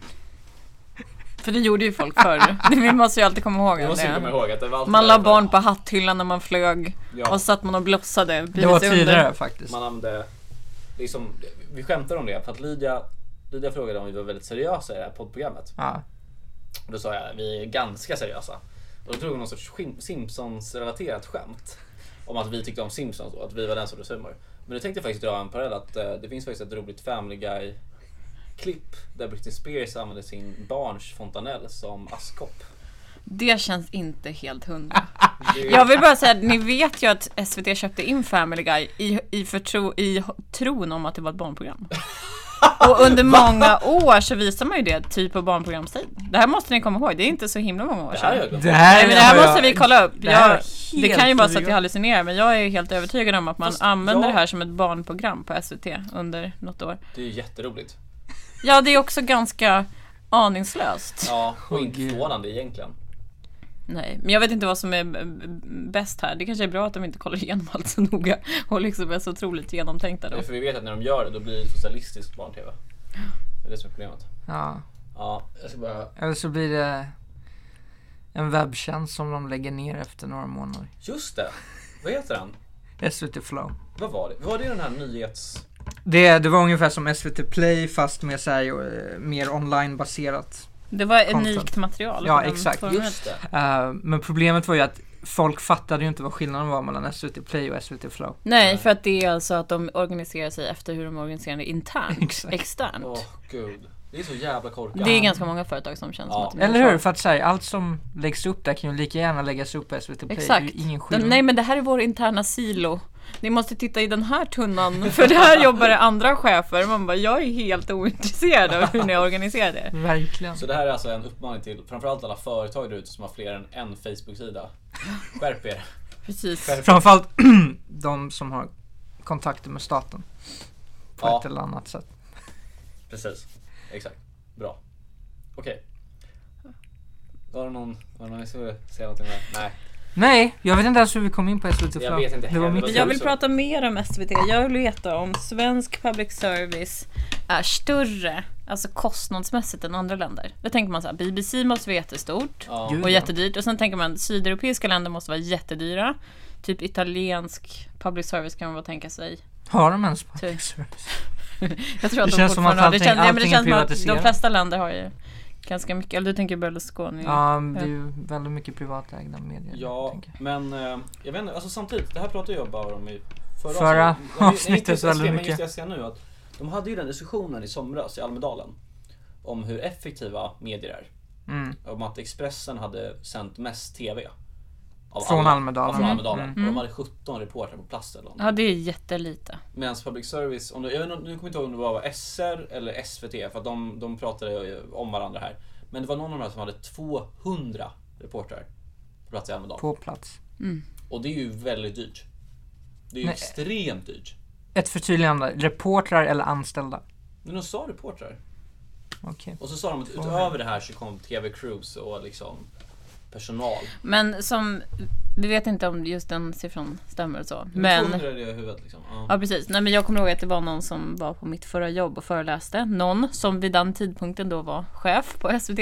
S3: För det gjorde ju folk förr. Vi måste ju alltid komma ihåg
S1: jag
S3: att
S1: måste ju
S3: det.
S1: komma ihåg att det var alltid
S3: Man la
S1: därifrån.
S3: barn på hatthyllan när man flög
S1: Ja.
S3: och satt man och blossade.
S2: Det var
S3: precis under.
S2: tidigare faktiskt.
S1: Man använde, liksom, vi skämtar om det för att Lydia, Lydia frågade om vi var väldigt seriösa i det här poddprogrammet.
S2: Ja.
S1: Och då sa jag vi är ganska seriösa. Och då drog hon någon sorts skim- Simpsons-relaterat skämt. Om att vi tyckte om Simpsons och att vi var den sortens humor. Men nu tänkte jag faktiskt dra en parallell att eh, det finns faktiskt ett roligt Family Guy-klipp där Britney Spears använder sin barns fontanell som askkopp.
S3: Det känns inte helt hundra.
S1: Det är-
S3: Jag vill bara säga, ni vet ju att SVT köpte in Family Guy i, i, förtro, i tron om att det var ett barnprogram. Och under många år så visar man ju det typ på barnprogramstid. Det här måste ni komma ihåg, det är inte så himla många år
S1: Det här har
S3: sedan.
S1: jag glömt.
S2: Det här,
S3: Nej, men det här
S2: har
S3: måste vi kolla upp.
S2: det här
S3: Jag,
S2: är
S3: det
S2: helt
S3: kan ju vara så att
S2: övergång.
S3: jag hallucinerar men jag är helt övertygad om att man
S1: Fast
S3: använder
S1: jag-
S3: det här som ett barnprogram på SVT under något år.
S1: Det är ju jätteroligt.
S3: Ja, det är också ganska aningslöst.
S1: Ja, och
S2: Åh,
S1: inte
S2: gud.
S1: förvånande egentligen.
S3: Nej, men jag vet inte vad som är b- b- bäst här. Det kanske är bra att de inte kollar igenom allt så noga och liksom är så otroligt genomtänkta då.
S1: För vi vet att när de gör det då blir det socialistisk barn-tv. Det är det som är problemet.
S2: Ja.
S1: Ja, jag ska bara...
S2: Eller så blir det en webbtjänst som de lägger ner efter några månader.
S1: Just det! Vad heter han?
S2: SVT Flow.
S1: Vad var det? Var det den här nyhets...
S2: Det, det var ungefär som SVT Play fast med så här, eh, mer onlinebaserat.
S3: Det var
S2: Content.
S3: unikt material.
S2: Ja,
S3: för den
S2: exakt.
S3: formen.
S1: Just det.
S2: Eh, men problemet var ju att folk fattade ju inte vad skillnaden var mellan SVT Play och SVT Flow.
S3: Nej, för att det är alltså att de organiserar sig efter hur de organiserar det internt,
S2: Exakt.
S3: externt.
S1: Åh gud. Det är så jävla korkat.
S3: Det är ganska många företag som känns
S1: Ja.
S3: som att de
S2: Eller
S3: gör
S2: hur?
S3: så.
S2: För att säga, allt som läggs upp där kan ju lika gärna läggas upp på SVT Play.
S3: Exakt.
S2: Det är ju ingen skillnad.
S3: De, nej, men det här är vår interna silo. Ni måste titta i den här tunnan, för det här jobbar det andra chefer. Man bara, jag är helt ointresserad av hur ni organiserar det.
S2: Verkligen.
S1: Så det här är alltså en uppmaning till framförallt alla företag där ute som har fler än en Facebook-sida. Skärp er.
S3: Precis.
S2: Framförallt de som har kontakter med staten. På
S1: Ja.
S2: ett eller annat sätt.
S1: Precis. Exakt. Bra. Okej. Var det någon, var det någon som ville säga någonting om det? Nej.
S2: Nej, jag vet inte ens hur vi kom in på SVT Flow.
S1: Jag vet inte
S2: det var
S1: heller.
S2: mitt
S3: Jag vill prata mer om SVT. Jag vill veta om svensk public service är större, alltså kostnadsmässigt, än andra länder. Då tänker man så här, BBC måste vara jättestort
S1: Ja.
S2: Gud.
S3: och jättedyrt. Och sen tänker man, sydeuropeiska länder måste vara jättedyra. Typ italiensk public service kan man väl tänka sig.
S2: Har de ens public
S3: Typ.
S2: service?
S3: Jag tror att
S2: Det
S3: de
S2: känns som att
S3: fortfarande har. Det
S2: allting-
S3: känns, nej, men det
S2: allting
S3: känns som
S2: är
S3: att de
S2: privatiserat.
S3: flesta länder har ju ganska mycket. Eller du tänker Berlusconi.
S2: Ja, det är ju väldigt mycket privatägda medier.
S1: Ja,
S2: tänker jag.
S1: men eh, jag vet inte, alltså samtidigt, det här pratade jag bara om i förra,
S2: Förra
S1: avsnittet. Ja, men-
S2: avsnittet
S1: nej, inte
S2: väldigt
S1: SVT, men
S2: mycket.
S1: just SVT nu att de hade ju den diskussionen i somras i Almedalen om hur effektiva medier är.
S2: Mm.
S1: Om att Expressen hade sänt mest TV Av
S2: Från
S1: alla.
S2: Almedalen.
S1: Ja, från
S2: Mm.
S1: Almedalen.
S2: Mm.
S1: Och de hade 17 reportrar på plats eller något.
S3: Ja, det är jättelite.
S1: Medan public service, om det, jag vet, inte- nu kommer jag inte ihåg om det bara var SR eller SVT för att de, de pratade ju om varandra här. Men det var någon av de här som hade 200 reportrar på plats i Almedalen.
S2: På plats.
S1: Och det är ju väldigt dyrt. Det är ju
S2: Nej.
S1: extremt dyrt.
S2: Ett förtydligande. Reportrar eller anställda?
S1: Men de sa reportrar.
S2: Okej.
S1: Och så sa de att utöver det här så kom TV Crews och liksom personal.
S3: Men som, vi vet inte om just den siffran stämmer och så.
S1: Men...
S3: Men,
S1: 200 är det i huvudet liksom. Ja.
S3: ja precis. Nej men jag kommer ihåg att det var någon som var på mitt förra jobb och föreläste. Någon som vid den tidpunkten då var chef på SVT.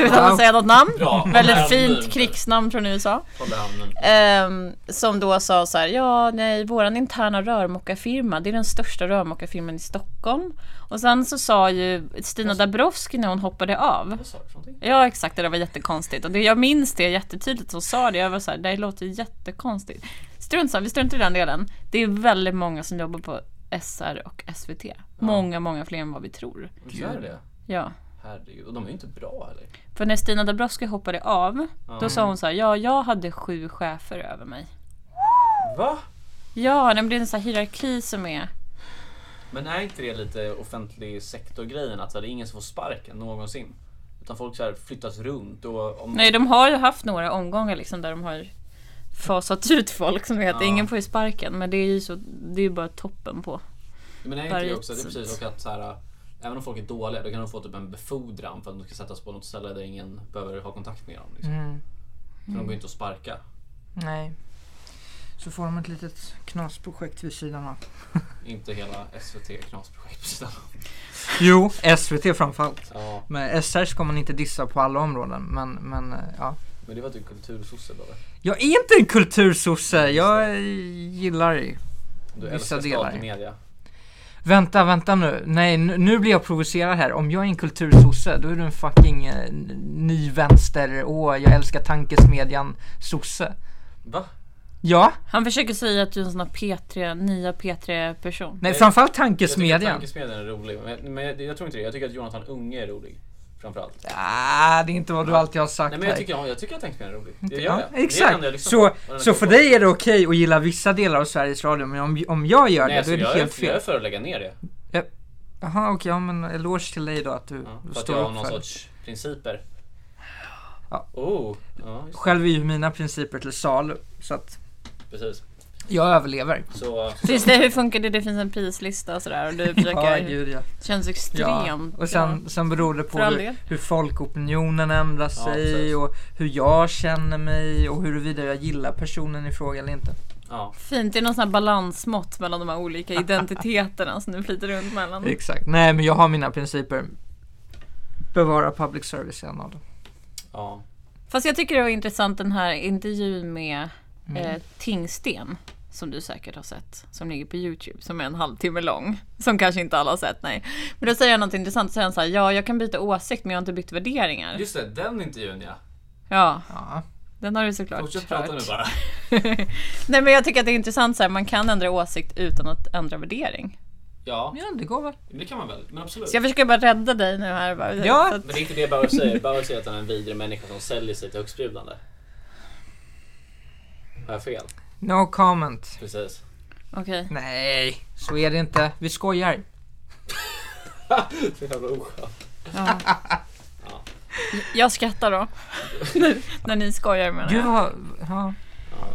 S3: Utan att säga något namn.
S1: Bra.
S3: Väldigt
S1: Håll
S3: fint
S1: handen.
S3: krigsnamn från USA.
S1: Håll handen.
S3: Ehm, som då sa så här, ja nej, våran interna rörmokarfirma, det är den största rörmokarfirman i Stockholm. Och sen så sa ju Stina Dabrowski när hon hoppade av,
S1: Vad sa du för någonting?
S3: Ja exakt, det där var jättekonstigt. Och det, jag minns det jättetydligt som sa det. Jag var såhär, det här låter jättekonstigt. Strunt samma, vi struntar i den delen. Det är väldigt många som jobbar på SR och SVT. Många, många fler än vad vi tror.
S1: Gör det?
S3: Ja.
S1: Herregud. Och de är ju inte bra heller.
S3: För när Stina Dabrowski hoppade av, då sa hon så här, ja jag hade sju chefer över mig.
S1: Va?
S3: Ja, nej, men det är en sån här hierarki som är...
S1: Men är inte det lite offentlig sektor-grejen? Att så här, det är ingen som får sparken någonsin. Utan folk så här flyttas runt och... Om,
S3: Nej, de har ju haft några omgångar liksom där de har fasat ut folk som det heter.
S1: Ja.
S3: Ingen får ju sparken, men det är ju så, det är ju bara toppen på.
S1: men är inte det
S3: Varje
S1: också det är precis och att så här, Även om folk är dåliga, då kan de få typ en befordran för att de ska sättas på något ställe där ingen behöver ha kontakt med dem. Liksom.
S2: Mm.
S1: För de går ju inte att sparka.
S2: Nej. Så får de ett litet knasprojekt vid sidan av.
S1: Inte hela SVT knasprojekt. på sidan.
S2: Jo, SVT framförallt.
S1: Ja,
S2: Men SR ska man inte dissa på alla områden. Men, men eh, ja.
S1: men det var typ kultursosse bara.
S2: Jag är inte en kultursosse. Jag gillar
S1: Du
S2: Vissa
S1: älskar
S2: delar.
S1: statlig media.
S2: Vänta, vänta nu. Nej, nu, nu blir jag provocerad här. Om jag är en kultursosse, då är du en fucking eh, n- ny vänster. Åh, jag älskar tankesmedjan sosse.
S1: Va?
S2: Ja,
S3: Han försöker säga att du är en sån här P3, nya P3-person.
S2: nej,
S1: Nej,
S2: framförallt
S1: Jag tycker att
S2: tankesmedjan.
S1: tankesmedjan är rolig. Men, men jag, jag tror inte det. Jag tycker att Jonathan Unge är rolig. Framförallt.
S2: Ah, det är inte vad du alltid har sagt
S1: Nej men jag
S2: här.
S1: tycker, ja, jag tycker att tankesmedjan är rolig. Det gör
S2: Ja,
S1: jag. Det är det
S2: exakt.
S1: enda jag lyssnar
S2: så,
S1: på. Och den
S2: så för
S1: kom
S2: dig
S1: på.
S2: är det okej att gilla vissa delar av Sveriges Radio, men om, om jag gör
S1: Nej,
S2: det, då är
S1: alltså,
S2: det
S1: jag
S2: helt
S1: Jag
S2: fel.
S1: är för att lägga ner det.
S2: Jaha, okej, ja, men eloge till dig då att du
S1: Ja,
S2: du
S1: för att
S2: står
S1: jag har
S2: upp
S1: någon
S2: för det.
S1: sorts principer.
S2: Ja.
S1: Oh, ja, just,
S2: Själv är ju mina principer till salu, så att
S1: precis.
S2: jag överlever.
S1: Så,
S3: Finns det, hur funkar det? Det finns en prislista och sådär och du
S2: Ja,
S3: försöker...
S2: gud ja.
S3: känns
S2: Ja,
S3: extremt.
S2: och sen, sen beror det på
S3: För all
S2: hur,
S3: del.
S2: hur folkopinionen ändrar
S1: Ja,
S2: sig
S1: precis.
S2: och hur jag känner mig och huruvida jag gillar personen i fråga eller inte.
S1: ja.
S3: Fint, det är någon sån här balansmått mellan de här olika identiteterna som du flyter runt mellan.
S1: Mm.
S2: Exakt. Nej, men jag har mina principer. Bevara public service är en av dem.
S1: ja.
S3: Fast jag tycker det var intressant den här intervjun med eh, Tingsten. Som du säkert har sett, som ligger på Youtube, som är en halvtimme lång. Som kanske inte alla har sett, nej. Men då säger han något intressant, så säger han så här, ja jag kan byta åsikt men jag har inte bytt värderingar.
S1: Just det, den intervjun ja.
S3: Ja,
S2: Ja.
S3: den har du såklart
S1: Fortsätt prata nu
S3: hört.
S1: bara.
S3: Nej men jag tycker att det är intressant så här, man kan ändra åsikt utan att ändra värdering.
S1: Ja,
S2: ja, det går väl.
S1: det kan man väl. Men absolut.
S3: Så jag försöker bara rädda dig nu här. Bara,
S2: Ja.
S3: så att-
S1: Men det är inte det Bauer säger. Bauer säger att han är en vidrig människa som säljer sig till högstbjudande. Har jag fel?
S2: No comment.
S1: Precis.
S3: Okej.
S2: Nej, så är det inte. Vi skojar.
S1: Så jävla oskönt.
S3: Ja. Jag skrattar då. när, när ni skojar med
S2: Gud
S3: det.
S2: vad... Ja.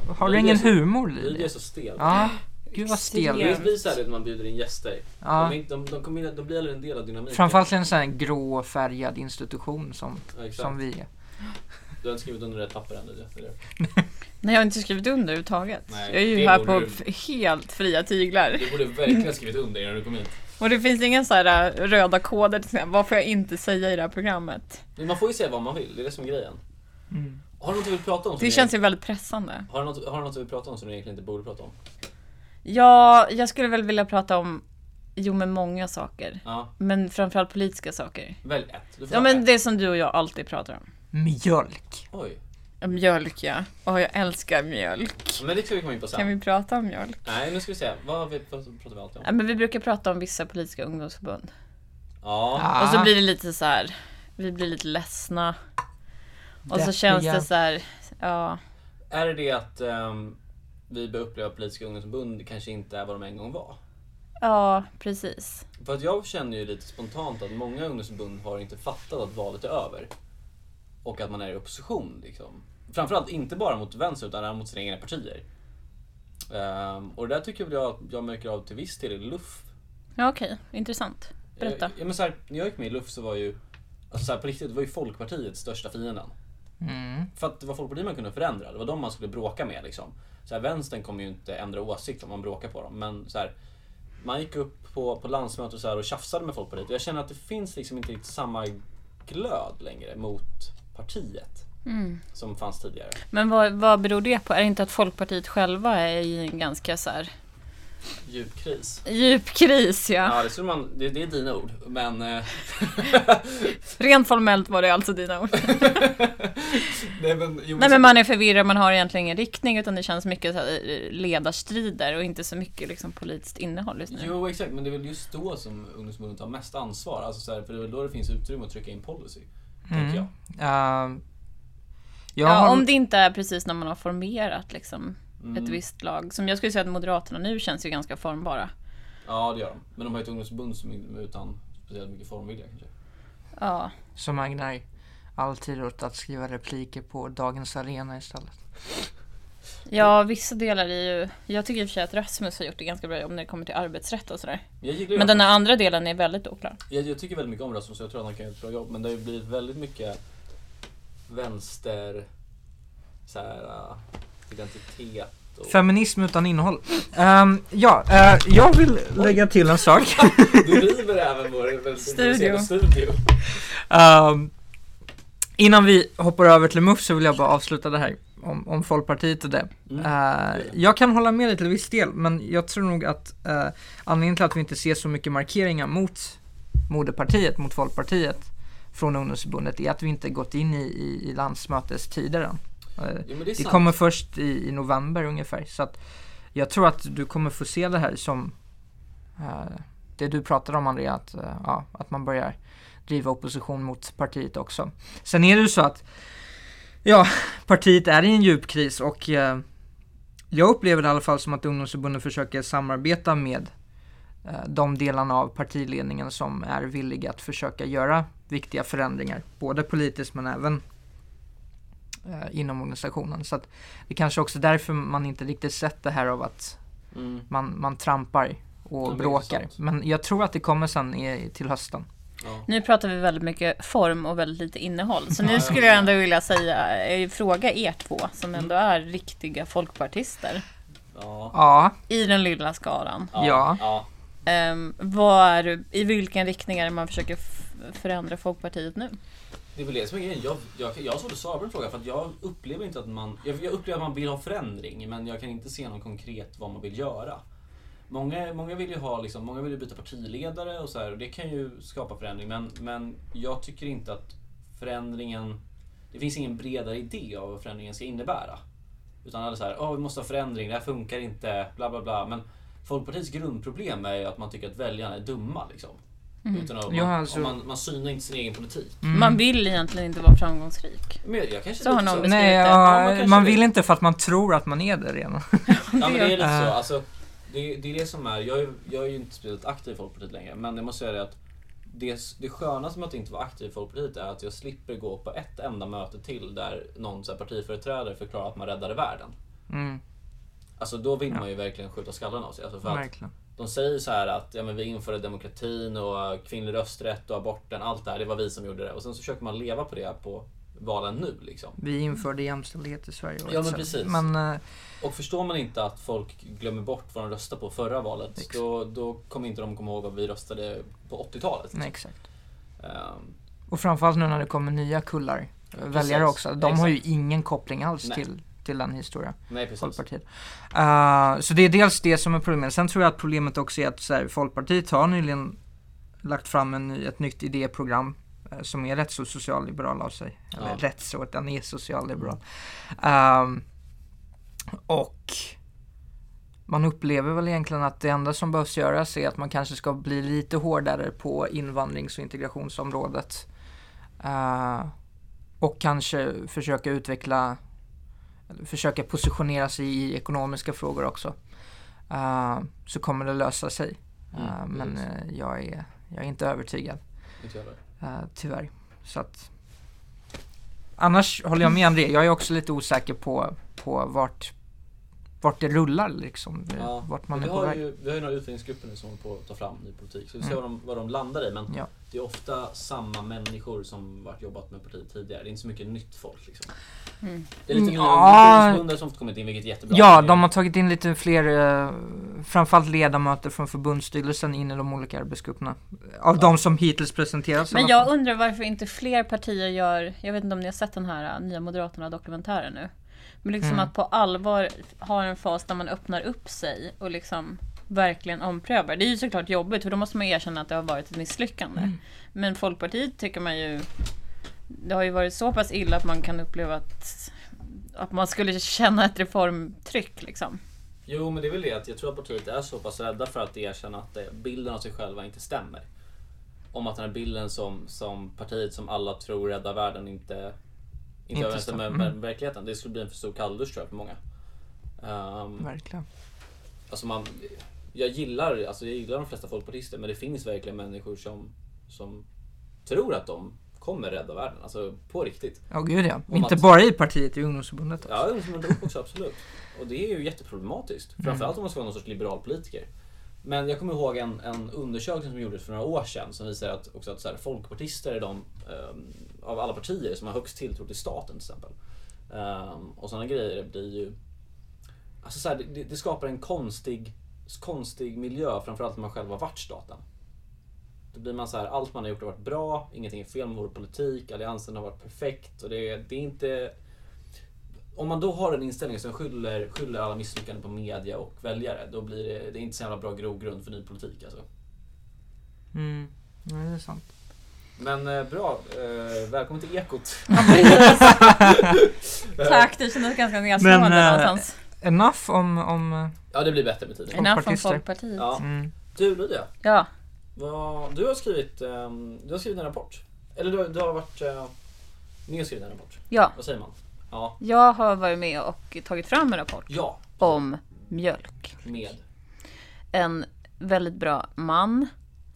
S1: Ja.
S2: Har du
S1: Lydia
S2: ingen
S1: är så-
S2: humor
S1: Lydia är
S2: Lydia?
S1: så stel.
S2: Ja. Gud vad stel du
S1: Det
S2: är.
S1: blir så här när man bjuder in gäster.
S2: Ja.
S1: De, är inte- de, de, kommer in, de blir aldrig en del av dynamiken.
S2: Framförallt en sån här grå färgad institution som,
S1: Ja, exakt.
S2: som vi är.
S1: Du har inte skrivit under rätt papper ännu. det är det.
S3: Nej, jag har inte skrivit under överhuvudtaget.
S1: Nej,
S3: jag är ju
S1: det
S3: här
S1: borde
S3: på
S1: du-
S3: f- helt fria tyglar.
S1: Du borde verkligen ha skrivit under innan du kom hit.
S3: Och det finns ingen så här äh, röda koder till exempel. Vad får jag inte säga i det här programmet?
S1: Men Man får ju säga vad man vill, det är det som är grejen.
S2: Mm.
S1: Har du något du vill prata om? som
S3: Det
S1: du
S3: känns
S1: egentligen-
S3: ju väldigt pressande.
S1: har, du något, har du något du vill prata om som du egentligen inte borde prata om?
S3: Ja, jag skulle väl vilja prata om, jo men många saker.
S1: Ja,
S3: Men framförallt politiska saker.
S1: välj ett. Du får
S3: Ja
S1: ta
S3: men
S1: ett.
S3: det som du och jag alltid pratar om.
S2: Mjölk.
S1: Oj.
S3: Mjölk ja. Och jag älskar mjölk.
S1: Men det ska vi komma in på sen.
S3: Kan vi prata om mjölk?
S1: Nej, nu ska vi se. Vad, har vi, vad pratar vi alltid om?
S3: Ja, men vi brukar prata om vissa politiska ungdomsförbund.
S1: Ja.
S2: Ah.
S3: Och så blir det lite så här, vi blir lite ledsna. Och så känns
S2: Deppiga.
S3: det så här, ja.
S1: Är det det att ehm, vi börjar uppleva att politiska ungdomsförbund kanske inte är vad de en gång var?
S3: Ja, precis.
S1: För att jag känner ju lite spontant att många ungdomsförbund har inte fattat att valet är över. Och att man är i opposition. Liksom. Framförallt inte bara mot vänster utan även mot sina egna partier. Ehm, och det där tycker jag att jag märker av till viss del i LUF.
S3: Ja, okej. Intressant. Berätta.
S1: Eh, Ja, men så här, när jag gick med i LUF så var ju, alltså så här, på riktigt, det var ju Folkpartiets största fienden.
S2: Mm.
S1: För att det var Folkpartiet man kunde förändra. Det var de man skulle bråka med. Liksom. Så här, vänstern kommer ju inte ändra åsikt om man bråkar på dem. Men så här, man gick upp på, på landsmöte och, så här, och tjafsade med Folkpartiet. Och jag känner att det finns liksom inte riktigt samma glöd längre mot partiet. Som fanns tidigare.
S3: Mm. Men vad, vad beror det på? Är det inte att Folkpartiet själva är i en ganska så här
S1: Djup kris.
S3: djup kris? Ja.
S1: Ja, det, skulle man, det, det är dina ord. Men eh,
S3: Rent formellt var det alltså dina ord.
S1: nej, men, jo,
S3: Nej men man är förvirrad, man har egentligen ingen riktning utan det känns mycket så här, eh, ledarstrider och inte så mycket liksom, politiskt innehåll just nu.
S1: Jo, exakt. Men det är väl just då som ungdomsförbundet har mest ansvar. Alltså, så här, för det är väl då det finns utrymme att trycka in policy.
S3: Mm.
S1: Tänker jag.
S2: Ehm, jag
S3: Ja,
S2: har-
S3: om det inte är precis när man har formerat liksom,
S1: Mm.
S3: ett visst lag. Som jag skulle säga att Moderaterna nu känns ju ganska formbara.
S1: Ja, det gör de. Men de har ju ett ungdomsförbund som är utan speciellt mycket formvilja kanske.
S3: Ja,
S2: Som ägnar alltid åt att skriva repliker på Dagens Arena istället.
S3: ja vissa delar är ju... Jag tycker i och för sig att Rasmus har gjort det ganska bra jobb när det kommer till arbetsrätt och sådär.
S1: Jag, gillar ju
S3: Men den
S1: Rasmus.
S3: här andra delen är väldigt oklar.
S1: jag, jag tycker väldigt mycket om Rasmus så jag tror att han kan göra ett bra jobb. Men det har ju blivit väldigt mycket vänster så här, äh, identitet och...
S2: Feminism utan innehåll. Ehm, ja, eh, jag vill lägga till en sak.
S1: Du river även vår väldigt
S3: Studio.
S1: intresserade studio.
S2: Ehm, innan vi hoppar över till MUF så vill jag bara avsluta det här om, om Folkpartiet och det.
S1: Mm.
S2: Eh, jag kan hålla med dig till viss del, men jag tror nog att eh, anledningen till att vi inte ser så mycket markeringar mot moderpartiet, mot Folkpartiet från ungdomsförbundet är att vi inte gått in i, i, i landsmötestider än. Eh,
S1: Jo, men det är
S2: det
S1: sant.
S2: kommer först i, i november ungefär. Så att jag tror att du kommer få se det här som eh, det du pratade om Andrea, att, eh, ja, att man börjar driva opposition mot partiet också. Sen är det ju så att ja, partiet är i en djup kris och eh, jag upplever det i alla fall som att ungdomsförbunden försöker samarbeta med eh, de delarna av partiledningen som är villiga att försöka göra viktiga förändringar, både politiskt men även eh, inom organisationen. Så att det kanske också är därför man inte riktigt sett det här av att
S1: Mm.
S2: man, man trampar och
S1: Ja, det är
S2: bråkar.
S1: intressant.
S2: Men jag tror att det kommer sen i, till hösten.
S1: Ja.
S3: Nu pratar vi väldigt mycket form och väldigt lite innehåll. Så
S1: Ja,
S3: nu
S1: ja.
S3: skulle jag ändå vilja säga, eh, fråga er två som ändå är riktiga folkpartister
S1: Ja.
S2: Ja,
S3: i den lilla skaran.
S2: Ja.
S1: ja.
S3: Ehm, vad är, I vilken riktning är det man försöker f- förändra Folkpartiet nu?
S1: Det är väl det som är grejen. Jag, jag, jag har svårt att svara på den frågan för att jag upplever inte att man... Jag, jag upplever att man vill ha förändring men jag kan inte se någon konkret vad man vill göra. Många, många vill ju ha liksom, många vill ju byta partiledare och så här och det kan ju skapa förändring men, men jag tycker inte att förändringen... Det finns ingen bredare idé av vad förändringen ska innebära. Utan alla så här, "Åh, vi måste ha förändring, det här funkar inte, bla bla bla. Men Folkpartiets grundproblem är ju att man tycker att väljarna är dumma liksom. Utan att man,
S2: Ja, alltså-
S1: och man, man synar inte sin egen politik.
S3: Man vill egentligen inte vara framgångsrik.
S1: Men jag, jag kanske
S3: Så
S1: lite
S3: har någon
S1: så.
S3: beskrivit-
S2: nej,
S3: det.
S1: Ja,
S2: ja,
S1: man kanske
S2: man
S1: det.
S2: vill inte för att man tror att man är det redan.
S1: Ja, men det är lite så.
S2: Äh.
S1: Alltså, det, det är det som är. Jag är, jag är ju inte speciellt aktiv i Folkpartiet längre. Men jag måste säga det att det, det skönaste med att inte vara aktiv i Folkpartiet är att jag slipper gå på ett enda möte till där någon så här, partiföreträdare förklarar att man räddade världen.
S2: Mm,
S1: Alltså då vill man ju verkligen skjuta skallen av sig. Alltså, för att
S2: verkligen.
S1: de säger så här att ja, men vi införde demokratin och eh, kvinnlig rösträtt och aborten. Allt det här, det var vi som gjorde det. Och sen så försöker man leva på det på valen nu liksom.
S2: Vi införde jämställdhet i Sverige. och
S1: Ja, men
S2: så.
S1: precis.
S2: Men, eh,
S1: Och förstår man inte att folk glömmer bort vad de röstade på förra valet,
S2: Exakt.
S1: då, då kommer inte de komma ihåg vad vi röstade på 80-talet.
S2: nej, exakt.
S1: Ehm,
S2: Och framförallt nu när det kommer nya kullar eh,
S1: Precis,
S2: väljare också. De har ju ingen koppling alls
S1: Nej.
S2: till, till den historien.
S1: nej precis.
S2: Folkpartiet. Eh, så det är dels det som är problemet. Sen tror jag att problemet också är att så här, Folkpartiet har nyligen lagt fram en ny, ett nytt idéprogram eh, som är rätt så socialliberal av sig. Eller
S1: Ja.
S2: rätt så, den är socialliberal. Ehm, och man upplever väl egentligen att det enda som behövs göras är att man kanske ska bli lite hårdare på invandrings och integrationsområdet. Eh, och kanske försöka utveckla försöka positionera sig i ekonomiska frågor också. Eh, så kommer det lösa sig. Eh,
S1: Mm,
S2: men
S1: precis.
S2: eh, jag, är, jag är inte övertygad,
S1: Inte jag heller.
S2: eh, tyvärr. Så att, annars håller jag med André. Jag är också lite osäker på, på vart, vart det rullar liksom. eh,
S1: Ja,
S2: Vart man
S1: vi,
S2: är på
S1: har
S2: väg.
S1: ju, vi har ju några utredningsgrupper nu som håller på att ta fram ny politik. Så vi ser
S2: Mm.
S1: vad, de, vad de landar i. Men
S2: Ja.
S1: det är ofta samma människor som varit jobbat med partiet tidigare. Det är inte så mycket nytt folk. Liksom.
S3: Mm.
S1: Det är lite
S2: Ja.
S1: ungdomsförbundet som kommit in, vilket är jättebra.
S2: Ja, de har tagit in lite fler, eh, framförallt ledamöter från förbundsstyrelsen in i de olika arbetsgrupperna. Av de som hittills presenterats. i
S3: Men
S2: alla
S3: jag
S2: fall.
S3: undrar varför inte fler partier gör, jag vet inte om ni har sett den här äh, Nya Moderaterna dokumentären nu. Men liksom
S2: Mm.
S3: att på allvar ha en fas där man öppnar upp sig och liksom verkligen omprövar. Det är ju såklart jobbigt för då måste man ju erkänna att det har varit ett misslyckande.
S2: Mm.
S3: Men Folkpartiet tycker man ju, det har ju varit så pass illa att man kan uppleva att, att man skulle känna ett reformtryck liksom.
S1: Jo, men det är väl det att jag tror att partiet är så pass rädda för att erkänna att eh, bilden av sig själva inte stämmer. Om att den här bilden som, som partiet som alla tror räddar världen inte, inte,
S2: Inte
S1: överensstämmer
S2: stämmer.
S1: med
S2: Mm.
S1: verkligheten. Det skulle bli en för stor kalldusch tror jag för många. Ehm,
S2: Verkligen.
S1: Alltså man, jag, gillar, alltså jag gillar de flesta folkpartister men det finns verkligen människor som, som tror att de kommer rädda världen. Alltså på riktigt.
S2: Ja, gud ja.
S1: Om
S2: Inte
S1: att-
S2: bara i partiet, i ungdomsförbundet.
S1: Ja, ungdomsförbundet också, absolut. Och det är ju jätteproblematiskt. Framförallt om man ska vara någon sorts liberal politiker. Men jag kommer ihåg en, en undersökning som gjordes för några år sedan som visar att, också att så här, folkpartister är de ehm, av alla partier som har högst tilltro till staten till exempel. Ehm, och sådana grejer det blir ju... Alltså så här, det- det, det skapar en konstig, konstig miljö framförallt när man själv har varit staten. Då blir man så här, allt man har gjort har varit bra, ingenting är fel med vår politik, alliansen har varit perfekt och det, det är inte om man då har en inställning som skyller, skyller alla misslyckanden på media och väljare, då blir det, det är inte så jävla bra grogrund för ny politik alltså.
S2: Mm. Ja, det är sant.
S1: Men eh, bra, eh, välkommen till Ekot.
S3: Tack, det kändes ganska nedslående
S2: Men, eh,
S3: någonstans.
S2: Enough om... om eh,
S1: Ja, det blir bättre med tiden.
S3: Enough om
S2: folkpartister.
S3: Folkpartiet.
S1: Ja.
S2: mm.
S1: Du Lydia,
S3: ja.
S1: vad, du, har skrivit, ehm, du har skrivit en rapport. Eller du, har- du har varit eh, med och skrivit en rapport.
S3: ja.
S1: Vad säger man? Ja,
S3: Jag har varit med och tagit fram en rapport
S1: ja
S3: om mjölk.
S1: med.
S3: En väldigt bra man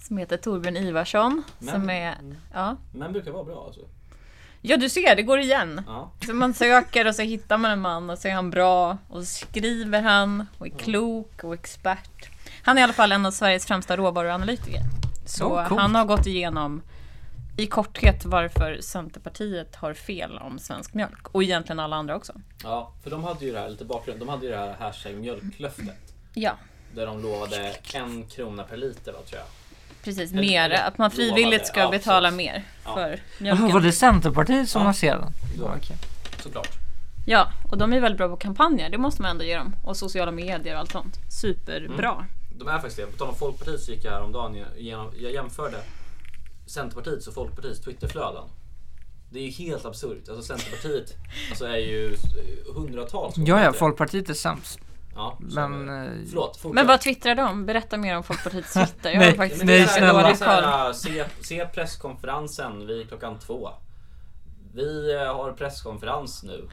S3: som heter Torbjörn Ivarsson. Som är, ja.
S1: Men brukar vara bra alltså.
S3: ja, du ser, det går igen.
S1: Ja.
S3: Så man söker och så hittar man en man och så är han bra. Och så skriver han och är klok och expert. Han är i alla fall en av Sveriges främsta råvaruanalytiker. Så
S2: Oh, coolt.
S3: han har gått igenom i korthet varför Centerpartiet har fel om svensk mjölk. Och egentligen alla andra också.
S1: ja, för de hade ju det här, lite bakgrund, de hade ju det här hashtag mjölklöftet.
S3: Ja.
S1: Där de lovade en krona per liter va, tror jag.
S3: Precis,
S1: Eller-
S3: mer. Att man
S1: lovade,
S3: frivilligt ska
S1: ja,
S3: betala
S1: precis.
S3: mer
S1: Ja.
S3: för
S2: Jaha, var
S3: mjölken.
S2: det Centerpartiet som
S1: Ja.
S2: lanserade den?
S1: Ja.
S2: okej.
S1: Såklart.
S3: Ja, och de är väldigt bra på kampanjer, det måste man ändå ge dem. Och sociala medier och allt sånt. Superbra.
S2: Mm.
S1: De är faktiskt det. På tal om Folkpartiet så gick jag häromdagen igenom, jag jämförde Centerpartiets och Folkpartiets Twitterflöden. Det är ju helt absurt. Alltså Centerpartiet alltså är ju eh, hundratals gånger
S2: Ja, ja.
S1: bättre.
S2: Folkpartiet är sämst.
S1: ja, så är
S2: Men...
S1: det.
S2: eh,
S1: Förlåt, fortsätt.
S3: Men vad twittrar de? Berätta mer om Folkpartiets Twitter.
S2: Nej,
S3: Jag har
S1: Nej,
S3: faktiskt
S1: men det är
S2: Nej,
S1: så
S3: ganska
S1: här, det är
S3: dålig
S1: så
S3: koll.
S1: här, se, se presskonferensen vid klockan två. Vi eh, har presskonferens nu.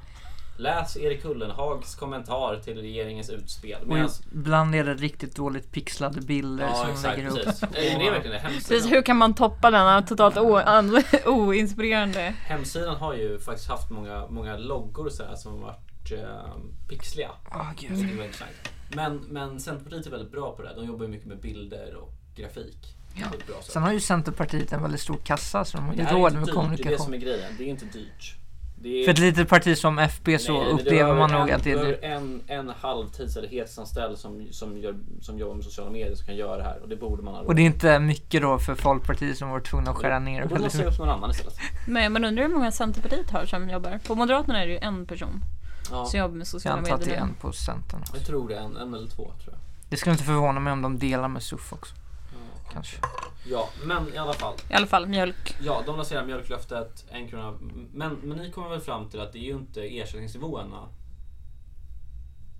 S1: Läs Erik Ullenhags kommentar till regeringens utspel.
S2: Och
S1: Medans-
S2: ibland är det riktigt dåligt pixlade bilder som
S1: ja,
S2: de
S1: exakt.
S2: lägger upp.
S1: Precis. Nej, Det är verkligen det.
S3: Precis,
S1: Hemsidan,
S3: hur kan man toppa denna totalt o- an- oinspirerande...
S1: Hemsidan har ju faktiskt haft många, många loggor och sådär som har varit eh, pixliga.
S2: Åh,
S1: Så
S2: Ah, gud.
S1: det var intressant. Men, men Centerpartiet är väldigt bra på det här. De jobbar ju mycket med bilder och grafik. Ja. Det, är ett bra sätt.
S2: Sen har ju Centerpartiet en väldigt stor kassa så de har
S1: det
S2: inte
S1: här är
S2: råd
S1: inte
S2: med
S1: dyrt. Det är det som
S2: kommunikation.
S1: är grejen. Det är inte dyrt. Det är,
S2: För ett litet parti som FP så
S1: Nej, men du
S2: upplever
S1: har
S2: man
S1: en-
S2: nog att det
S1: du
S2: är
S1: har
S2: dyrt.
S1: en, en halvtids eller heltidsanställd som, som, gör, som jobbar med sociala medier som kan göra det här. Och det borde man ha
S2: Och det är inte mycket då för Folkpartiet som var tvungna att skära ner
S1: Då borde man
S2: väldigt
S1: se
S2: mycket.
S1: upp någon annan istället.
S3: Men man undrar hur många Centerpartiet har som jobbar. På Moderaterna är det ju en person
S1: Ja,
S3: som jobbar med
S2: Jag
S3: sociala
S2: antar att det är
S3: medier.
S2: en på Centern.
S1: jag tror det. är En, en eller två tror jag.
S2: Det skulle inte förvåna mig om de delar med SUF också.
S1: Ja.
S2: Kanske.
S1: Ja, men i alla fall.
S3: I alla fall mjölk.
S1: Ja, de lanserar mjölklöftet, en krona. Men, men ni kommer väl fram till att det är ju inte ersättningsnivåerna.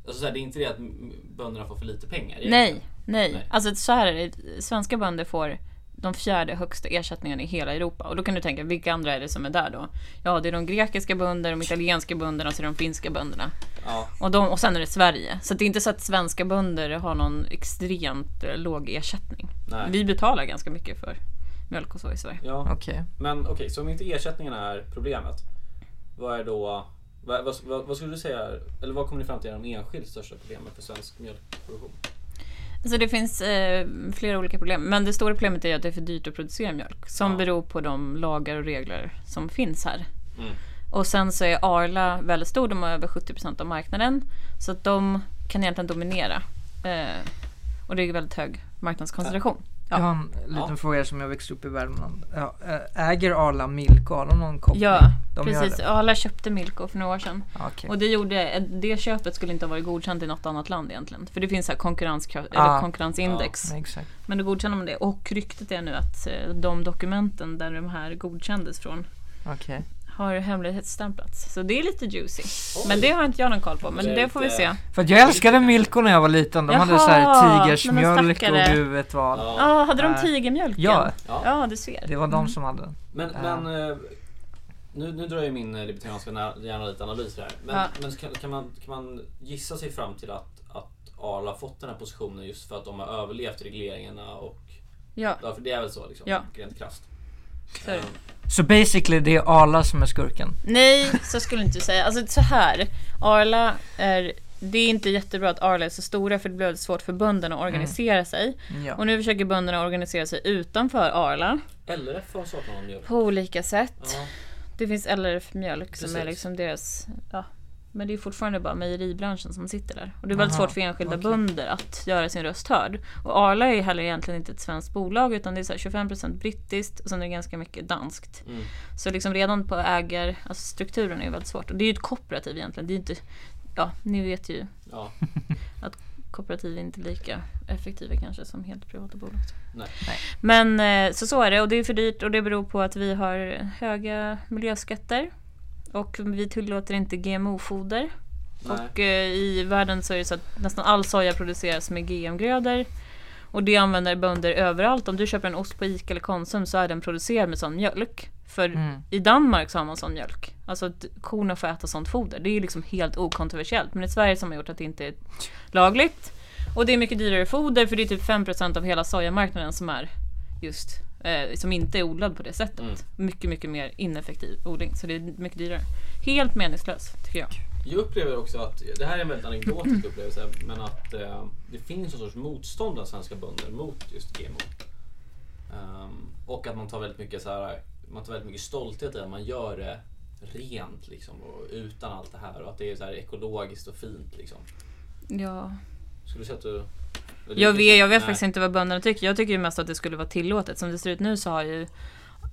S1: Alltså så här, det är inte det att m- bönderna får för lite pengar. egentligen.
S3: Nej, nej.
S1: Nej.
S3: Alltså så här är det. Svenska bönder får de fjärde högsta ersättningarna i hela Europa. Och då kan du tänka, vilka andra är det som är där då? Ja, det är de grekiska bönderna, de italienska bönderna och så är det de finska bönderna.
S1: Ja,
S3: Och, de, och sen är det Sverige. Så det är inte så att svenska bönder har någon extremt eh, låg ersättning.
S1: nej.
S3: Vi betalar ganska mycket för mjölk och så i Sverige.
S1: Ja.
S2: Okej.
S1: Men okej, så om inte ersättningen är problemet. Vad är då... Vad, vad, vad, vad skulle du säga, är- eller vad kommer ni fram till är de enskilt största problemen för svensk mjölkproduktion?
S3: Så det finns eh, flera olika problem. Men det stora problemet är att det är för dyrt att producera mjölk. Som
S1: Ja.
S3: beror på de lagar och regler som finns här.
S1: Mm.
S3: Och sen så är Arla väldigt stor. De har över 70% av marknaden. Så att de kan egentligen dominera. Eh, och det är väldigt hög marknadskoncentration.
S2: Jag har en liten fråga som jag växte upp i Värmland. Ja, ä- äger Arla Milk? Har de någon koppling?
S3: Ja,
S2: de gör
S3: precis.
S2: det.
S3: Arla köpte Milko för några år sedan.
S2: Okej.
S3: Och det, gjorde, eh, det köpet skulle inte ha varit godkänt i något annat land egentligen. För det finns så här konkurrenskraft,
S2: Ah.
S3: eller konkurrensindex.
S2: Nej, Exakt.
S3: Men då godkänner man det. Och ryktet är nu att eh, de dokumenten där de här godkändes från
S2: Okej.
S3: har hemlighetsstämplats. Så det är lite juicy.
S1: Oj.
S3: Men det har inte jag någon koll på. Men
S1: Det är
S3: det får vi
S1: lite-
S3: se.
S2: För att jag älskade Milko när jag var liten. De hade så här
S3: Jaha, men
S2: tigersmjölk och
S3: stackare.
S2: du vet vad. Ja,
S3: Ja,
S1: Ja.
S3: hade de
S2: Äh,
S3: tigermjölken? Ja, Mm. du ser.
S2: det var de som hade den.
S1: Men,
S2: Ja.
S1: men eh, nu, nu drar ju min eh, libertarianska na- hjärna lite analys här. Men,
S3: Ja.
S1: men kan, kan, man, kan man gissa sig fram till att, att Arla har fått den här positionen just för att de har överlevt regleringarna och
S3: Ja,
S1: ja, för det är väl så liksom,
S3: Ja.
S1: rent krasst.
S3: så är det.
S1: Eh,
S2: Så basically det är Arla som är skurken.
S3: Nej, så skulle jag inte säga. Alltså så här. Arla är... Det är inte jättebra att Arla är så stora för det blir väldigt svårt för bönderna att organisera sig.
S2: Ja.
S3: Och nu försöker bönderna organisera sig utanför Arla
S1: LRF har saknat någon mjölk.
S3: på olika sätt.
S1: Ja.
S3: Det finns LRF Mjölk som
S1: Precis.
S3: är liksom deras... Ja. Men det är fortfarande bara mejeribranschen som sitter där. Och det är väldigt
S2: Aha,
S3: svårt för enskilda
S2: okej.
S3: bönder att göra sin röst hörd. Och Arla är ju heller egentligen inte ett svenskt bolag utan det är så här 25% brittiskt och sen är det ganska mycket danskt.
S1: Mm.
S3: Så liksom redan på ägar, alltså strukturen är ju väldigt svårt. Och det är ju ett kooperativ egentligen. Det är ju inte, ja, ni vet ju
S1: Ja.
S3: kooperativ är inte lika effektiva kanske som helt privata bolag.
S1: Nej.
S2: Nej.
S3: Men eh, så, så är det och det är för dyrt och det beror på att vi har höga miljöskatter och vi tillåter inte GMO-foder.
S1: Nej.
S3: Och eh, i världen så är det så att nästan all soja produceras med GM-grödor. Och det använder bönder överallt. Om du köper en ost på Ica eller Konsum så är den producerad med sån mjölk. För
S2: Mm.
S3: i Danmark så har man sån mjölk. Alltså att korna får äta sånt foder. Det är ju liksom helt okontroversiellt. Men i Sverige som har gjort att det inte är lagligt. Och det är mycket dyrare foder för det är typ 5% av hela sojamarknaden som är just eh, som inte är odlad på det sättet.
S1: Mm.
S3: Mycket, mycket mer ineffektiv odling. Så det är mycket dyrare. Helt meningslös tycker jag.
S1: Jag upplever också att, det här är en väldigt anekdotisk upplevelse, men att eh, det finns en sorts motstånd bland svenska bönder mot just GMO. Ehm, och att man tar väldigt mycket så här, man tar väldigt mycket stolthet i att man gör det rent liksom och utan allt det här och att det är så här ekologiskt och fint liksom.
S3: Ja.
S1: Skulle du säga att du... eller
S3: Jag
S1: du-
S3: vet, jag vet
S1: nej.
S3: faktiskt inte vad bönderna tycker. Jag tycker ju mest att det skulle vara tillåtet. Som det ser ut nu så har ju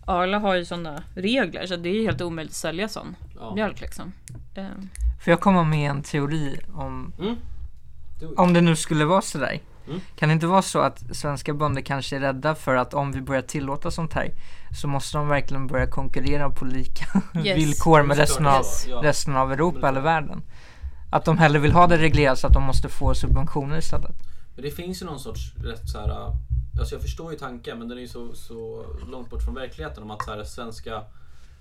S3: Arla har ju sådana regler så det är ju helt omöjligt att sälja sån
S1: Ja.
S3: mjölk liksom. Ehm,
S2: För jag kommer med en teori om,
S1: Mm. Du-
S2: om det nu skulle vara sådär.
S1: Mm.
S2: Kan det inte vara så att svenska bönder kanske är rädda för att om vi börjar tillåta sånt här så måste de verkligen börja konkurrera på lika
S3: Yes.
S2: villkor med
S1: Såklart
S2: resten av,
S1: det var, ja.
S2: resten av
S1: Men
S2: Europa
S1: det-
S2: eller världen. Att de hellre vill ha det reglerat så att de måste få subventioner istället.
S1: Men det finns ju någon sorts rätt så här. Alltså jag förstår ju tanken men den är ju så, så långt bort från verkligheten om att så här, svenska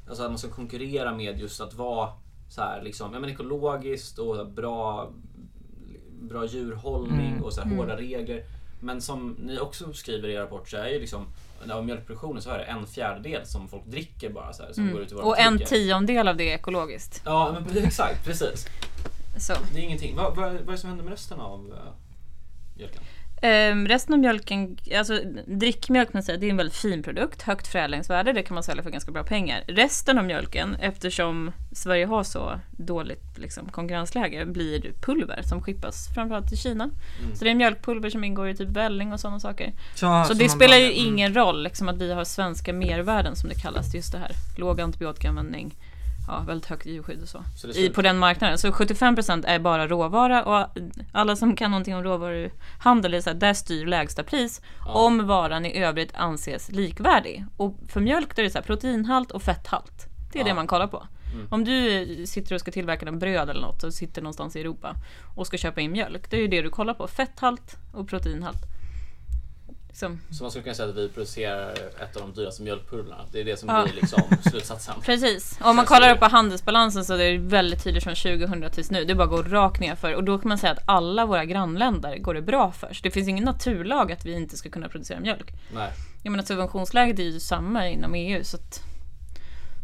S1: Alltså att man ska konkurrera med just att vara så här, liksom, ja, men ekologiskt och bra, bra djurhållning
S3: Mm.
S1: och så här, hårda regler. Men som ni också skriver i er rapport så är ju liksom av mjölkproduktionen så är det en fjärdedel som folk dricker bara så här, som går ut i våra
S3: Mm. och en
S1: butiker.
S3: tiondel av det är ekologiskt.
S1: Ja men pre- exakt, precis.
S3: Så.
S1: Det är ingenting. Vad, vad, vad är det som händer med resten av eh, mjölken?
S3: Ehm, resten av mjölken, alltså drickmjölk kan man säga, det är en väldigt fin produkt, högt förädlingsvärde, det kan man sälja för ganska bra pengar. Resten av mjölken, eftersom Sverige har så dåligt liksom, konkurrensläge, blir pulver som skippas framförallt till Kina.
S1: Mm.
S3: Så det är mjölkpulver som ingår i typ välling och sådana saker. Så det spelar ju
S1: Mm.
S3: ingen roll liksom, att vi har svenska mervärden som det kallas, just det här. Låg antibiotikaanvändning, ja, väldigt högt djurskydd och så
S1: Så det
S3: i,
S1: skulle-
S3: på den marknaden. Så 75% är bara råvara och alla som kan någonting om råvaruhandel, är så här, där styr lägsta pris om varan i övrigt anses likvärdig. Och för mjölk då är det så här, proteinhalt och fetthalt. Det är
S1: Ja.
S3: det man kollar på. Om du sitter och ska tillverka en bröd eller något och sitter någonstans i Europa och ska köpa in mjölk, det är ju det du kollar på. Fetthalt och proteinhalt. Som,
S1: Så man skulle kunna säga att vi producerar ett av de dyraste mjölkpulverna. Det är det som
S3: Ja.
S1: blir liksom slutsatsen.
S3: precis. Om man kollar upp på handelsbalansen så är det väldigt tydligt från 2000 tills nu. Det bara går rakt ner för. Och då kan man säga att alla våra grannländer går det bra för. Så det finns ingen naturlag att vi inte ska kunna producera mjölk.
S1: Nej.
S3: Jag menar subventionsläget är ju samma inom EU så att,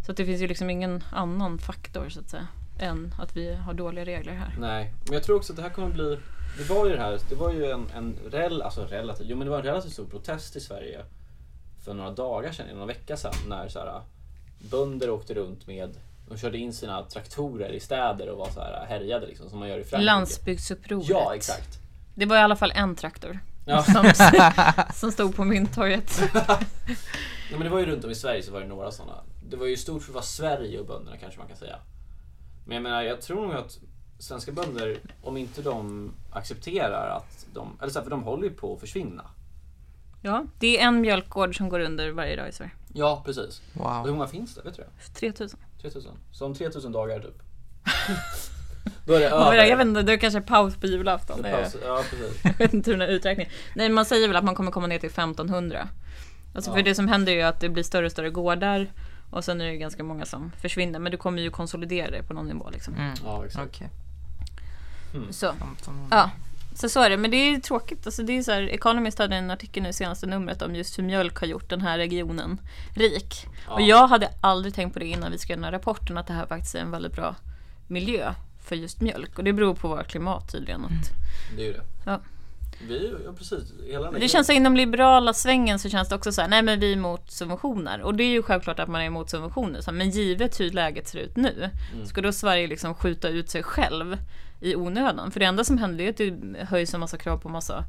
S3: så att det finns ju liksom ingen annan faktor så att säga än att vi har dåliga regler här.
S1: Nej, men jag tror också att det här kommer bli... Det var ju det här, det var ju en, en, rel, alltså en relativ, jo, men det var en relativt stor protest i Sverige för några dagar sedan, eller någon vecka sedan, när så här, bönder åkte runt med de körde in sina traktorer i städer och var så här härjade liksom som man gör i Frankrike.
S3: Landsbygdsupproret.
S1: Ja, exakt.
S3: Det var i alla fall en traktor
S1: Ja.
S3: som, som stod på Mynttorget.
S1: Ja, men det var ju runt om i Sverige så var det några sådana. Det var ju stort för vad Sverige och bönderna kanske man kan säga. Men jag menar, jag tror nog att svenska bönder, om inte de accepterar att de, eller så här, för de håller ju på att försvinna.
S3: Ja, det är en mjölkgård som går under varje dag i Sverige.
S1: Ja, precis. Och hur
S2: Mm. Wow.
S1: många finns det? Vet du det?
S3: 3000.
S1: 3000. Så om 3000 dagar typ. Då är det
S3: Ja,
S1: över.
S3: jag vet inte, det är kanske paus på julafton.
S1: Det
S3: Det
S1: är
S3: är,
S1: paus. Ja, precis.
S3: jag vet inte hur den här uträkningen... Nej, man säger väl att man kommer komma ner till 1500. Alltså
S1: Ja.
S3: för det som händer är ju att det blir större och större gårdar och sen är det ju ganska många som försvinner. Men du kommer ju konsolidera det på någon nivå liksom.
S2: Mm.
S1: Ja, exakt.
S2: Okej.
S3: Så.
S2: 1500.
S3: Ja, så så är det. Men det är ju tråkigt. Alltså det är så här, Economist hade en artikel nu i senaste numret om just hur mjölk har gjort den här regionen rik. Och
S1: Ja.
S3: jag hade aldrig tänkt på det innan vi skrev den här rapporten att det här faktiskt är en väldigt bra miljö för just mjölk. Och det beror på vårt klimat tydligen. Att,
S1: Det är ju det.
S3: Ja.
S1: Vi, ja precis. Hela den
S3: Det känns så inom liberala svängen så känns det också så här, nej men vi är emot subventioner. Och det är ju självklart att man är emot subventioner. Så här, men givet hur läget ser ut nu,
S1: Mm.
S3: ska då Sverige liksom skjuta ut sig själv i onödan? För det enda som händer är att det höjs en massa krav på massa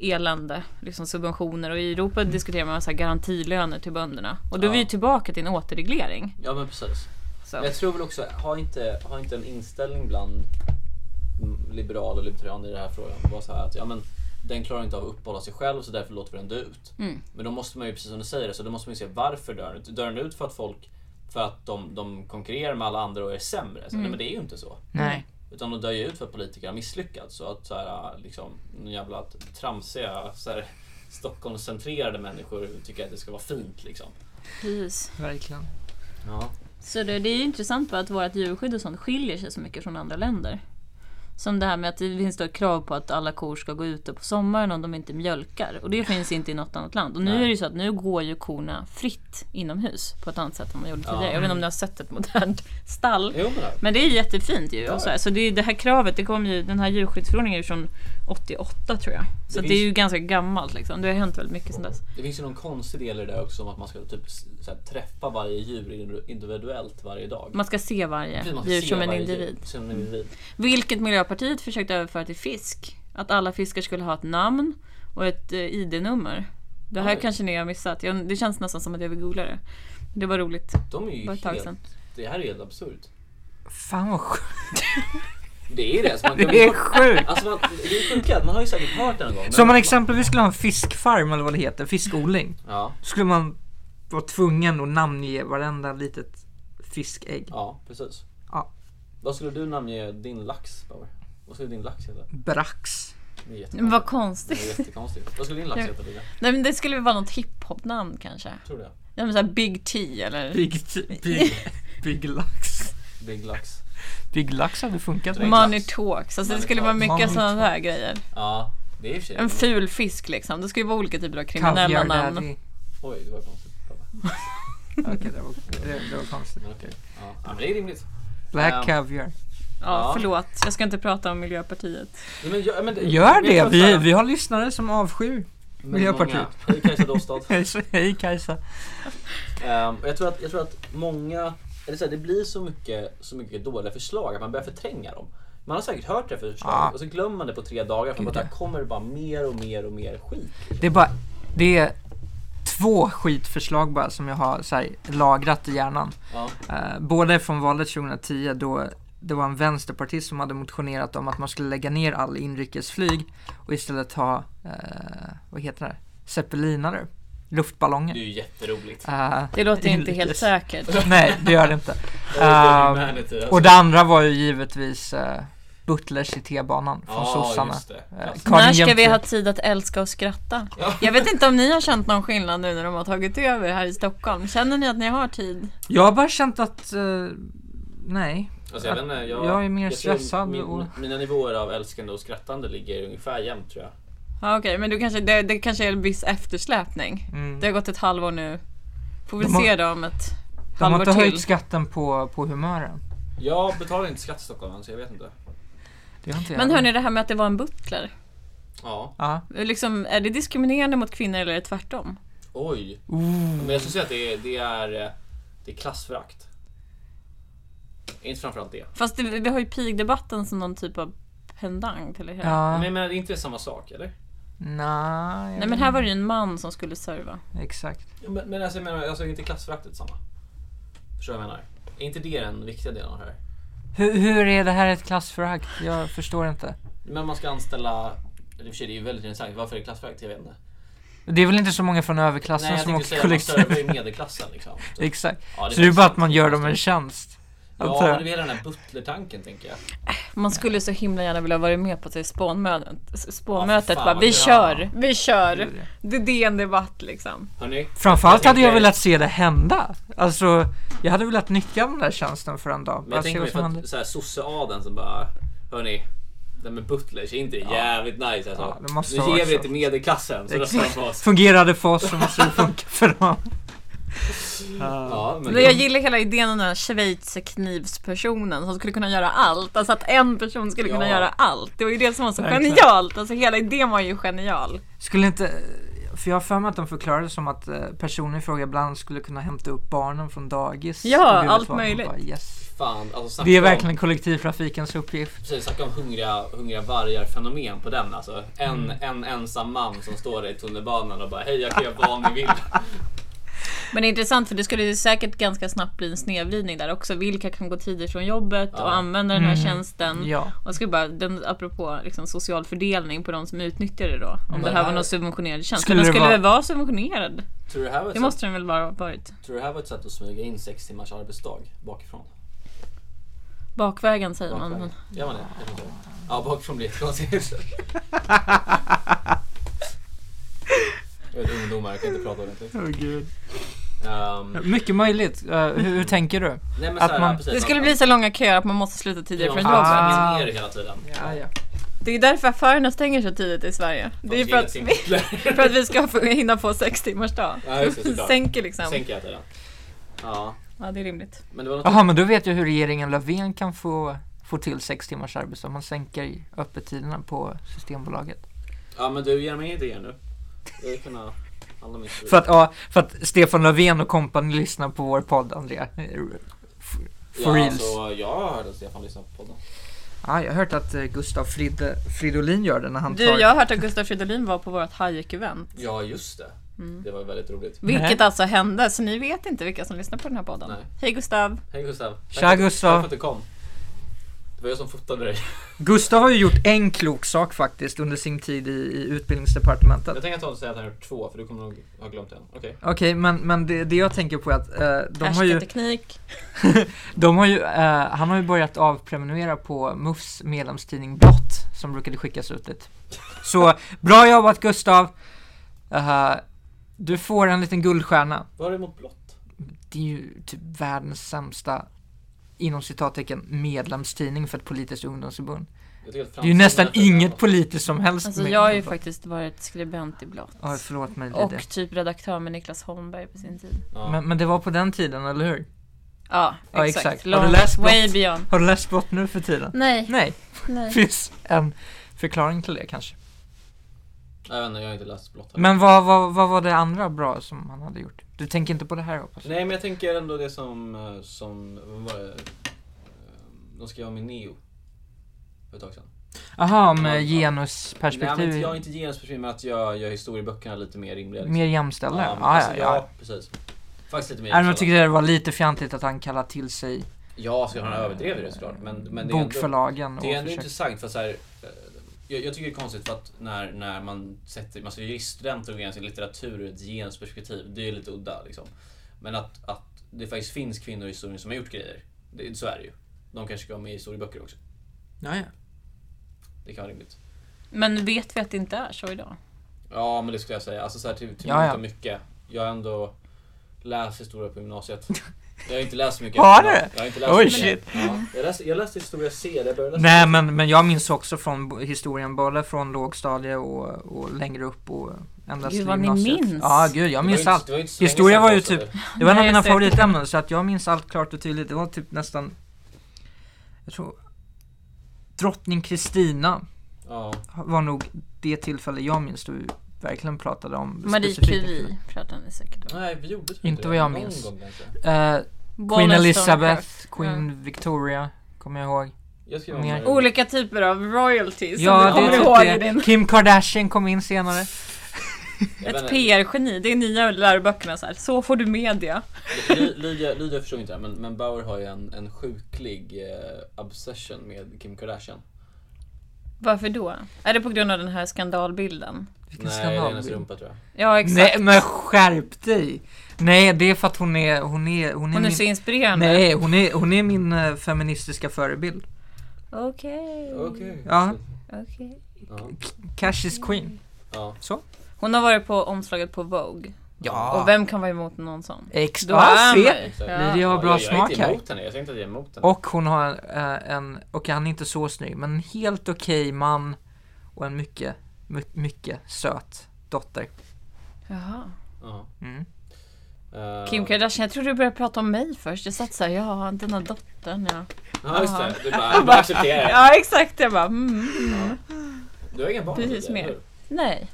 S3: elände, liksom subventioner. Och i Europa diskuterar man så här garantilöner till bönderna. Och då är
S1: Mm.
S3: vi
S1: Ja.
S3: ju tillbaka till en återreglering.
S1: Ja, men precis.
S3: Så.
S1: Men jag tror väl också, har inte, har inte en inställning bland mm, liberal och libertarian i den här frågan var så här att ja, men, den klarar inte av att uppehålla sig själv så därför låter vi den dö ut.
S3: Mm.
S1: Men då måste man ju, precis som du säger, så då måste man ju se varför dör den ut. Dör den ut för att folk för att de, de konkurrerar med alla andra och är sämre? Så, Nej men det är ju inte så.
S2: Nej.
S1: Utan de dör ju ut för att politiker har misslyckats. Så att så här, liksom, någon jävla tramsiga så här, Stockholmscentrerade människor tycker att det ska vara fint liksom.
S3: Precis.
S2: Verkligen.
S1: Ja.
S3: Så det, det är ju intressant bara att vårt djurskydd och sånt skiljer sig så mycket från andra länder. Som det här med att det finns då ett krav på att alla kor ska gå ute på sommaren om de inte mjölkar. Och det finns inte i något annat land. Och nu
S1: Nej.
S3: är det ju så att nu går ju korna fritt inomhus på ett annat sätt än man gjorde
S1: Ja.
S3: tidigare. Jag vet inte om ni har sett ett modernt stall.
S1: Jo men
S3: Men det är jättefint ju.
S1: Ja.
S3: Och så, här. så det, är ju det här kravet, det kom ju, den här djurskyddsförordningen är ju från 88 tror jag. Så
S1: Det
S3: det,
S1: finns-
S3: är ju ganska gammalt liksom. Det har hänt väldigt mycket sedan dess.
S1: Det finns ju någon konstig del i det där också om att man ska typ s- så här, träffa varje djur individuellt varje dag.
S3: Man ska se varje
S1: Precis, man ska
S3: djur
S1: se
S3: som en
S1: varje
S3: individ. Mm.
S1: Djur, som en individ.
S3: Vilket Miljöpartiet försökte överföra till fisk. Att alla fiskar skulle ha ett namn och ett eh, ID-nummer. Det här
S1: Oj.
S3: kanske ni har missat. Jag, det känns nästan som att jag vill googla det. Det var roligt.
S1: De är ju
S3: Bara ett tag
S1: helt,
S3: sedan.
S1: det här är helt absurt.
S2: Fan vad sjukt.
S1: Det är det. Alltså man kan
S2: Det är sjukt.
S1: Alltså man, det är sjukt att man har ju säkert hört det någon gång. men-
S2: Så om man exempelvis skulle ha en fiskfarm eller vad det heter, fiskodling.
S1: Ja,
S2: Skulle man vara tvungen att namnge varenda litet fiskägg.
S1: ja precis.
S2: Ja.
S1: Vad skulle du namnge din lax Bauer? Vad skulle din lax heta?
S2: Brax.
S1: Det är
S3: Men
S1: jättekonstigt. Det
S3: vad konstigt.
S1: är jättekonstigt. Vad skulle din lax heta Lydia?
S3: Nej, men det skulle väl vara något hiphop-namn kanske?
S1: Tror du det?
S3: Ja, men så här Big T eller
S2: Big, big, big lax.
S1: Big lax.
S2: Big lax hade funkat.
S1: Money
S3: Money Talks. Alltså,
S1: Money
S3: det skulle
S1: Talks.
S3: vara mycket
S2: liksom. Money
S3: sådana här grejer.
S1: Ja, det är i och för sig.
S3: En ful fisk liksom. Det skulle vara olika typer av kriminella
S2: Kaviar
S3: namn.
S2: daddy.
S1: Oj, det var konstigt.
S2: Okej, det var, det, det var konstigt.
S1: Men okej. Ja. ja, men det är rimligt.
S2: Black
S1: Ehm.
S2: caviar.
S1: Ja.
S3: Ja, förlåt. Jag ska inte prata om Miljöpartiet.
S1: Nej, men gör, men
S2: Gör
S1: jag
S2: det!
S1: tror så
S2: Vi,
S1: här-
S2: vi har lyssnare som avskyr.
S1: Men
S2: Miljöpartiet.
S1: många- i Kajsa Dostad.
S2: Hej, så- Hej Kajsa.
S1: Ehm, och jag, tror att, jag tror att många, eller så här, det blir så mycket, så mycket dåliga förslag att man börjar förtränga dem. Man har säkert hört det här förslaget
S2: Ja.
S1: och så glömmer man det på tre dagar för
S2: Gud,
S1: att där
S2: ja.
S1: kommer det bara mer och mer och mer skit.
S2: Det är bara, det är två skitförslag bara som jag har så här, lagrat i hjärnan.
S1: Ja.
S2: Eh, båda från valet 2010 då det var en vänsterpartist som hade motionerat om att man skulle lägga ner all inrikesflyg och istället ha, eh, vad heter det, zeppelinare,
S1: Det är
S2: luftballonger.
S1: ju jätteroligt.
S2: Eh,
S3: Det låter inte
S2: inrikes.
S3: helt säkert.
S2: Nej, det gör det inte.
S1: Det är
S2: Ehm,
S1: humanity, alltså.
S2: Och det andra var ju givetvis eh, Butlers i T-banan från
S1: Ja,
S2: sossarna.
S1: just det. Alltså,
S2: Eh,
S1: Klassiskt.
S2: Karin
S3: När ska vi
S2: Jämtin.
S3: ha tid att älska och skratta?
S1: Ja.
S3: Jag vet inte om ni har känt någon skillnad nu när de har tagit över här i Stockholm. Känner ni att ni har tid?
S2: Jag har bara känt att, eh, nej.
S1: Alltså, jag, vet inte, jag,
S2: Jag är mer
S1: tror
S2: stressad
S1: Min,
S2: och-
S1: Mina nivåer av älskande och skrattande ligger ungefär jämnt tror jag.
S3: Ja, Okej, men du kanske, det, det kanske är en viss eftersläpning.
S2: Mm.
S3: Det har gått ett halvår nu. Får vi
S2: De har-
S3: se då om ett
S2: De har
S3: halvår
S2: inte
S3: till.
S2: höjt skatten på, på humören.
S1: Jag betalar inte skatt i Stockholm så jag vet inte.
S2: Det har inte jag.
S3: Men hörni, det här med att det var en butler.
S1: Ja,
S2: Ja.
S3: Liksom, är det diskriminerande mot kvinnor eller är det tvärtom?
S1: oj.
S2: Ooh.
S1: Men jag skulle säga att det är, det är, eh, det är klassförakt. Inte framförallt det.
S3: Fast det, vi har ju pigdebatten som någon typ av pendang till det hela.
S2: Ja.
S1: Men jag menar, det är inte samma sak eller?
S2: Nej. jag
S3: Nej men
S2: vet
S3: här var det ju en man som skulle serva.
S2: inte. Exakt.
S1: Ja, Men, men alltså, jag menar, alltså, är inte klassföraktet samma? Förstår du vad jag menar? Är inte det den viktiga delen av det här?
S2: Hur, hur är det här ett klassförakt? Jag förstår inte.
S1: Men man ska anställa... eller I och för sig, det är ju väldigt intressant. Varför är det klassförakt? Jag vet inte.
S2: Det är väl inte så många från överklassen
S1: Nej, jag
S2: som
S1: tänkte
S2: åker
S1: säga att man servar ju
S2: kollektivt?
S1: medelklassen liksom. Typ.
S2: Exakt.
S1: Ja,
S2: så det är
S1: faktiskt
S2: bara att man
S1: inte
S2: gör dem en
S1: konstigt.
S2: tjänst?
S1: Ja,
S2: antar
S1: men
S2: jag.
S1: det är väl hela den här butlertanken tänker jag.
S3: Man skulle så himla gärna vilja vara med på det spånmötet. spånmötet
S1: Ja, fan,
S3: bara, vi
S1: vad bra.
S3: kör, vi kör.
S2: Gjorde
S3: Det är det en debatt liksom.
S1: Hörrni,
S2: Framförallt
S1: Jag
S2: hade jag
S1: tänker-
S2: velat se det hända. Alltså, jag hade velat nyttja den där tjänsten för en dag.
S1: Men jag
S2: Bara se
S1: tänker
S2: Alltså,
S1: mig
S2: vad som
S1: för
S2: händer.
S1: att så här, sosseadeln som bara Hörni Den med butlers, är inte det jävligt nice alltså?
S2: Ja, det måste
S1: nu
S2: ha
S1: ger
S2: varit
S1: vi det
S2: så.
S1: till medelklassen så röstar de på oss.
S2: Fungerade för oss som måste det funka för dem.
S1: Ja, men
S3: Men jag gillar hela idén om den här schweizerknivspersonen som skulle kunna göra allt. Alltså att en person skulle kunna
S1: Ja.
S3: göra allt. Det var ju det som var så
S2: Verkligen.
S3: genialt. Alltså hela idén var ju genial.
S2: Skulle inte... För jag har för mig att de förklarade som att eh, personen i fråga ibland skulle kunna hämta upp barnen från dagis.
S3: Ja,
S2: och Gud vet
S3: allt
S2: vad. Man
S3: möjligt.
S2: Bara, yes.
S1: fan, alltså snacka
S2: Det är
S1: om,
S2: verkligen kollektivtrafikens uppgift.
S1: precis, snacka om hungriga, hungriga vargar fenomen på den alltså. En,
S2: Mm.
S1: en ensam man som står där i tunnelbanan och bara hej jag kan göra vad ni vill.
S3: Men det är intressant för det skulle ju säkert ganska snabbt bli en snedvridning där också. Vilka kan gå tidigt från jobbet
S1: Ja.
S3: och använda den här
S2: Mm.
S3: tjänsten?
S2: Ja.
S3: Och jag skulle bara, den, apropå liksom social fördelning på de som utnyttjar det då. Om det
S1: det
S3: här
S1: här-
S3: var någon subventionerad tjänst.
S2: Skulle
S3: Skulle
S2: det
S3: den skulle
S2: vara-
S3: väl vara subventionerad?
S1: Tror du det här var ett,
S3: Det måste den väl bara ha varit?
S1: sätt, tror du det här var ett sätt att smyga in sex timmars arbetsdag bakifrån?
S3: Bakvägen säger man.
S1: Bakvägen.
S3: men-
S1: Gör man det? Jag vet inte. Ja, bakifrån blir jättekonstigt. Jag vet ungdomar, jag kan inte prata ordentligt.
S2: Oh, Gud.
S1: Ehm,
S2: Mycket möjligt. Eh, hur, hur tänker du?
S1: Nej men
S2: Att
S1: såhär,
S2: man-
S1: precis.
S3: Det skulle bli så långa köer att man måste sluta tidigare från
S1: från
S2: Ah.
S3: jobbet.
S1: jobbet. ner hela tiden.
S2: Ja, ja.
S3: Det är därför affärerna stänger så tidigt i Sverige. Det är för att, vi, för att vi ska få- hinna få sex timmars dag.
S1: Ja, just det, såklart.
S3: Sänker liksom.
S1: Sänker hela tiden. Ja,
S3: Ja, det är rimligt.
S1: men det var något...
S2: Jaha, men då vet jag hur regeringen Löfven kan få, få till sex timmars arbetsdag. Man sänker öppettiderna på Systembolaget.
S1: Ja men du, ge mig idéer nu. Jag vill kunna alla min
S2: För att, ja, för att Stefan Löfven och kompani lyssnar på vår podd, Andrea. For, for
S1: ja,
S2: reals.
S1: alltså, jag hörde Stefan lyssna på podden.
S2: Ja, jag har hört att eh, Gustav Frid, Fridolin gör det när han
S3: Du,
S2: tar...
S3: jag har hört att Gustav Fridolin var på vårt Hayek-event.
S1: Ja just det.
S3: Mm.
S1: Det var väldigt roligt.
S3: Vilket
S2: Nej.
S3: alltså hände, så ni vet inte vilka som lyssnar på den här podden.
S1: Nej.
S3: Hej Gustav!
S1: Hej Gustav.
S2: Tja,
S1: Tack för-
S2: Gustav.
S1: Tack för att du kom. Det var jag som fotade dig.
S2: Gustav har ju gjort en klok sak faktiskt under sin tid i, i utbildningsdepartementet.
S1: Jag tänker att han säger att han har gjort två för du kommer nog ha glömt en. Okej.
S2: Okej, men, men det, det jag tänker på är att eh, de har ju,
S3: Härskarteknik.
S2: de har ju eh, han har ju börjat avprenumerera på MUFs medlemstidning Blått som brukade skickas ut dit. Så bra jobbat Gustav! Eh, du får en liten guldstjärna.
S1: Vad har du emot blått?
S2: det är ju typ världens sämsta inom citattecken medlemstidning för ett politiskt ungdomsförbund.
S1: Jag tycker att
S2: Det är ju
S1: Frans-
S2: nästan inget politiskt som helst.
S3: Alltså
S2: med-
S3: jag har ju faktiskt varit skribent i Blått.
S2: Oj, förlåt mig
S3: Och
S2: Lide.
S3: typ redaktör med Niklas Holmberg på
S2: Mm.
S3: sin tid.
S1: Ja.
S2: Men, men det var på den tiden, eller hur?
S3: Ja,
S2: Ja,
S3: exakt.
S2: exakt. Har du
S3: Long,
S2: läst
S3: way
S2: Blått?
S3: beyond.
S2: Har du läst bort nu för tiden?
S3: Nej,
S2: Nej,
S3: nej.
S2: finns en förklaring till det kanske.
S1: Jag vet inte, jag har inte läst blått heller.
S2: Men vad, vad, vad var det andra bra som han hade gjort? Du tänker inte på det här hoppas jag?
S1: Nej men jag tänker ändå det som, eh, som vad var det? Eh, De skrev om i Neo. För ett tag sedan.
S2: Aha, med
S1: Ja, ja. Nej, men
S2: genusperspektiv?
S1: inte- jag är inte genusperspektiv men att jag gör historieböckerna lite mer rimliga. liksom.
S2: Mer jämställda? Ah,
S1: Ja,
S2: Ja,
S1: men
S2: ja,
S1: alltså,
S2: ja. ja.
S1: precis. Faktiskt lite mer
S2: Även om jag
S1: jämställda.
S2: tyckte det var lite fjantigt att han kallade till sig
S1: Ja, så han överdrev det såklart. Men, men det är ändå,
S2: bokförlagen
S1: det är
S2: och
S1: ändå
S2: försökte...
S1: intressant för så här, eh, jag, jag tycker det är konstigt för att när, när man sätter, man ser juriststudenter och ger sin litteratur ur ett genusperspektiv, det är lite udda liksom. Men att, att det faktiskt finns kvinnor i historien som har gjort grejer, det, så är det ju. De kanske ska vara med i historieböcker också.
S2: Ja, ja.
S1: Det kan vara rimligt.
S3: Men vet vi att det inte är så idag?
S1: Ja, men det skulle jag säga. Alltså så här, till, till
S2: Ja, ja.
S1: mångt och mycket. Jag har ändå läst historia på gymnasiet. Jag har inte läst så mycket.
S2: Har
S1: efter gymnasiet.
S2: du?
S1: Jag har inte läst
S2: Oj,
S1: så mycket.
S2: shit.
S1: Ja, jag, läste, jag läste historia C, där jag började läsa.
S2: Nej men, men jag minns också från bo- historien både från lågstadie och, och längre upp och ända
S3: Gud,
S2: till
S3: vad ni
S2: gymnasiet.
S3: minns.
S2: Ja gud jag
S1: Det var ju
S2: minns
S1: inte-
S2: allt.
S1: det var ju inte så länge
S2: Historia
S1: sedan alltså. jag
S2: var ju
S1: läste
S2: typ-
S1: det.
S2: Det var en av
S3: Nej,
S2: mina
S3: säkert.
S2: favoritämnen så att jag minns allt klart och tydligt. Det var typ nästan Jag tror Drottning Kristina
S1: Ja,
S2: var nog det tillfälle jag minns då vi verkligen pratade om
S3: Marie
S2: specifika-
S3: Curie pratade ni säkert om.
S1: nej vi gjorde typ
S2: Inte
S1: det.
S2: vad jag
S1: Någon
S2: minns.
S1: gång kanske.
S2: Eh, Queen
S3: Wollstonecraft.
S2: Elizabeth, Queen
S3: Ja.
S2: Victoria Kommer jag ihåg.
S1: Jag skrev
S2: Mer.
S1: om det.
S3: Olika typer av royalties
S2: Ja,
S3: som
S2: det
S3: du
S2: är
S3: kommer ihåg
S2: typ
S3: i din
S2: det. Kim Kardashian kom in senare.
S1: Jag vet
S3: Ett
S1: inte,
S3: PR-geni, det är nya läroböckerna så här. Så får du media.
S1: Ly- Lydia, Lydia förstod inte det, men, men Bauer har ju en, en sjuklig eh, obsession med Kim Kardashian.
S3: Varför då? Är det på grund av den här skandalbilden?
S2: Vilken
S1: Nej, det är hennes
S2: skandal.
S1: rumpa tror jag.
S3: Ja, exakt.
S2: Nej men skärp dig! Nej det är för att hon är, hon är, hon är,
S3: Hon är
S2: min,
S3: så inspirerande.
S2: Nej hon är, hon är min eh, feministiska förebild
S3: Okej.
S1: Okej.
S2: Ja.
S3: okej.
S1: Ja.
S2: Cash is queen
S1: ja.
S3: Hon har varit på omslaget på Vogue.
S2: Ja!
S3: Och vem kan vara emot någon sån?
S2: Ex-
S3: Då
S2: ja,
S3: är man
S2: se!
S3: ju-
S1: exakt.
S3: Ja.
S2: Lydia har
S1: Ja,
S2: bra
S1: jag, jag är
S2: smak
S1: inte
S2: här
S1: emot henne. Jag säger inte att jag är emot henne.
S2: Och hon har eh, en, och han är inte så snygg men en helt okej man och en mycket, my- mycket söt dotter
S3: Jaha.
S1: Ja.
S2: mm.
S1: Eh,
S3: Kim Kardashian, jag trodde du började prata om mig först. Jag satt såhär, ja den här dottern ja.
S1: Ja just det, du bara, du accepterar det.
S3: Ja exakt, jag bara mm.
S1: Du har inga barn?
S3: Precis,
S1: eller?
S3: mer. Nej.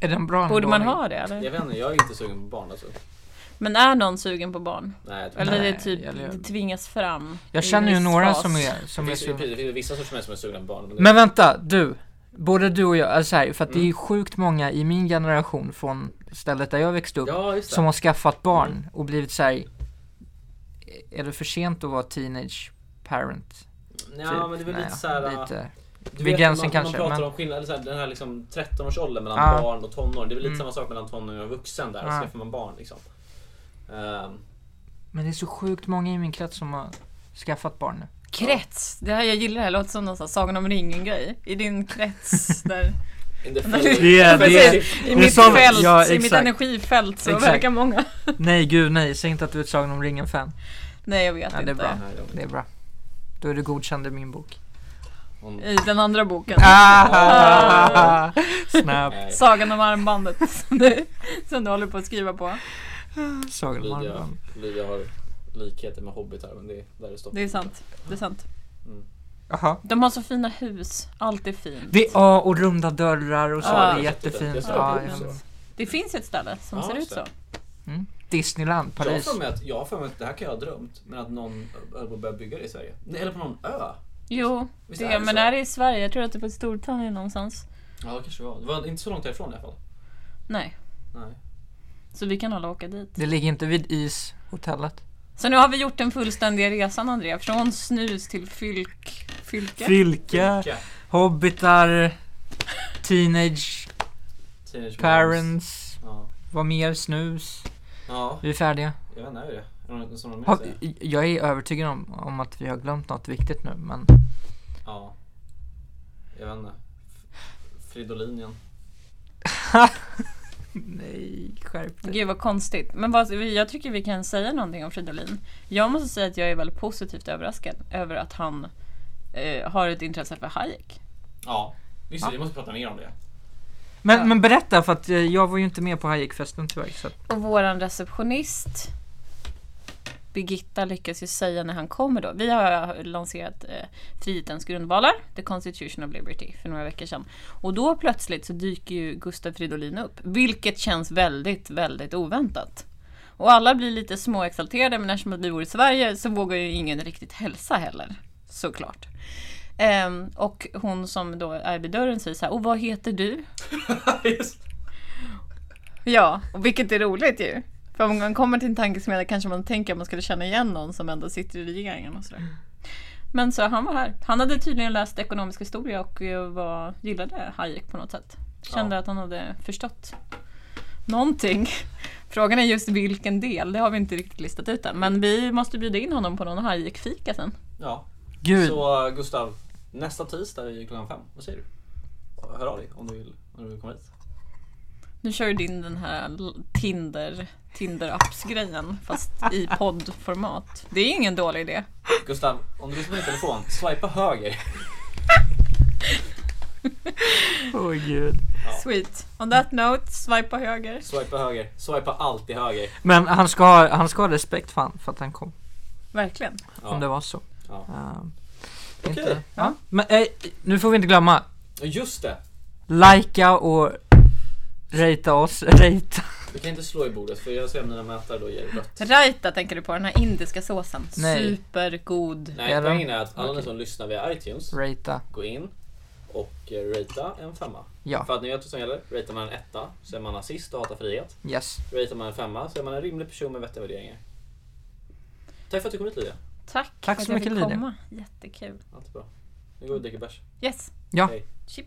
S2: Är den bra?
S3: Borde man
S2: ändå?
S3: ha det eller?
S1: Jag vet inte, jag är inte sugen på barn alltså.
S3: Men är någon sugen på barn?
S1: Nej, jag tror
S3: Eller
S1: inte.
S2: Nej,
S3: det är typ,
S2: eller-
S3: det tvingas fram.
S2: Jag
S3: i en
S2: känner ju
S3: viss
S2: några
S3: fas.
S2: som är, som är
S1: det,
S2: så
S1: finns, det finns vissa sorters människor som är sugna på barn. Men,
S2: Men vänta, du. Både du och jag, alltså här, för att det är
S1: Mm.
S2: sjukt många i min generation från stället där jag växte upp
S1: ja, just det.
S2: som har skaffat barn
S1: Mm.
S2: och blivit så här. "Eh, Är det för sent att vara teenage parent? Typ.
S1: ja, men det är väl
S2: Nej,
S1: lite såhär...
S2: lite.
S1: Du
S2: Vid
S1: vet,
S2: gränsen
S1: man,
S2: kanske,
S1: Man pratar
S2: men-
S1: om skillnad, eller så här, den här liksom 13-årsåldern mellan
S2: Ah.
S1: barn och tonåring. Det är väl lite
S2: Mm.
S1: samma sak mellan tonåring och vuxen där.
S2: Ah.
S1: Skaffar man barn liksom. Ehm,
S2: Men det är så sjukt många i min krets som har skaffat barn nu.
S3: Krets! Det här, jag gillar det här, låter som någon sån här Sagan om ringen-grej. I din krets där.
S1: in the
S3: Men-
S1: field.
S2: Det är- det är-
S1: Precis.
S3: I mitt
S2: sån-
S3: fält,
S2: ja,
S3: i mitt
S2: exakt.
S3: energifält så
S2: Exakt.
S3: verkar många.
S2: Nej gud nej, säg inte att du är ett Sagan om ringen-fan.
S3: Nej jag vet
S2: Ja, det är
S3: inte.
S2: bra.
S1: Nej, de-
S2: Det är bra. Då är du godkänd i min bok.
S1: hon-
S3: I den andra boken.
S2: Ah, Snap.
S1: nej,
S3: Sagan om armbandet som du, som du håller på att skriva på.
S2: Sagan om
S1: Lydia,
S2: armband.
S1: Lydia har likheter med hobbitar men det är där det stoppar.
S3: Det är sant. Det är sant.
S2: Jaha.
S3: De har så fina hus. Allt är fint.
S2: Det, ja, och runda dörrar och så.
S3: Ja.
S2: det är jättefint.
S1: Jag
S2: Ja,
S1: såg Ah, det
S2: ja.
S1: också.
S3: Det finns ett ställe som
S1: Ja,
S3: ser ut
S1: just
S3: så.
S1: det.
S2: Disneyland,
S1: Jag har
S2: Paris.
S1: för mig att, jag har för mig att det här kan jag ha drömt, men att någon höll på att börja bygga det i Sverige. Nej, Eller på någon ö.
S3: Jo,
S1: Visst
S3: det,
S1: är det
S3: men
S1: så?
S3: är det i Sverige? Jag tror att det är på Storbritannien någonstans.
S1: Ja, det kanske var. Det var inte så långt härifrån i alla fall.
S3: Nej,
S1: Nej.
S3: så vi kan alla åka dit.
S2: Det ligger inte vid ishotellet.
S3: Så nu har vi gjort den fullständiga resan Andrea. Från snus till fylk... Fylke?
S2: Fylke,
S1: Vilka?
S2: hobbitar, teenage
S1: Teenage Moms.
S2: parents,
S1: Ja.
S2: vad mer? Snus.
S1: ja,
S2: Vi är färdiga.
S1: jag vet inte, är det Är det något som de
S2: Har-
S1: vill säga?
S2: Jag är övertygad om, om att vi har glömt något viktigt nu, men
S1: Ja. Jag vet inte. F- Fridolinjen.
S2: nej, skärp dig.
S3: Gud vad konstigt. Men vad, jag tycker vi kan säga någonting om Fridolin. Jag måste säga att jag är väldigt positivt överraskad över att han eh, har ett intresse för Hayek.
S1: Ja. Visst, vi måste prata mer om det.
S2: Men, men berätta, för att eh, jag var ju inte med på Hayekfesten tyvärr. Så att,
S3: Och våran receptionist Birgitta lyckas ju säga när han kommer då. Vi har lanserat eh, Frihetens grundvalar, The Constitution of Liberty, för några veckor sedan. Och då plötsligt så dyker ju Gustav Fridolin upp, vilket känns väldigt, väldigt oväntat. Och alla blir lite småexalterade, men eftersom att vi bor i Sverige så vågar ju ingen riktigt hälsa heller, såklart. Ehm, och hon som då är vid dörren säger så här, och vad heter du?
S1: Just.
S3: Ja, och vilket är roligt ju. För om man kommer till en tankesmedja kanske man tänker att man skulle känna igen någon som ändå sitter i regeringen och sådär. Men så han var här. Han hade tydligen läst ekonomisk historia och eh, var, gillade Hayek på något sätt. Kände att han hade förstått någonting. Frågan är just vilken del, det har vi inte riktigt listat ut än. Men vi måste bjuda in honom på någon Hayek-fika sen.
S1: Ja.
S2: gud,
S1: Så Gustav, Nästa tisdag är det klockan fem. Vad säger du? Hör av dig om du vill, om du vill komma hit.
S3: Nu kör du in den här l- Tinder, Tinder-apps-grejen fast i poddformat. Det är ingen dålig idé.
S1: Gustav, om du lyssnar på din telefon, swipa höger.
S2: Åh gud.
S3: Sweet. On that note, swipa höger.
S1: Swipa höger. Swipa alltid höger.
S2: Men han ska, ha- han ska ha respekt för, han, för att han kom.
S3: Verkligen.
S1: Ja.
S2: Om det var så.
S1: Ja.
S2: Ehm,
S1: Okej.
S2: inte- Ja. Men eh, nu får vi inte glömma.
S1: Ja, Just det!
S2: Likea och ratea oss. Ratea.
S1: Du kan inte slå i bordet för jag ser om mina mätare då ger rött.
S3: Raita tänker du på, den här indiska såsen.
S2: Nej.
S3: Supergod.
S1: Nej,
S2: Är det?
S1: poängen är att alla ni
S2: Okej.
S1: som lyssnar via iTunes,
S2: Ratea.
S1: gå in och eh, ratea en femma.
S2: Ja.
S1: För att ni vet vad som gäller. Ratear man en etta så är man nazist och hatar frihet.
S2: Yes.
S1: Ratear man en femma så är man en rimlig person med vettiga värderingar. Tack för att du kom hit Lydia.
S3: Tack,
S2: Tack så
S3: för att jag
S2: mycket,
S3: fick
S2: Lydia.
S3: komma. Jättekul.
S1: Allt är bra. Nu går vi och dricker bärs.
S3: Yes.
S2: Ja.
S1: Hej.
S3: Chip.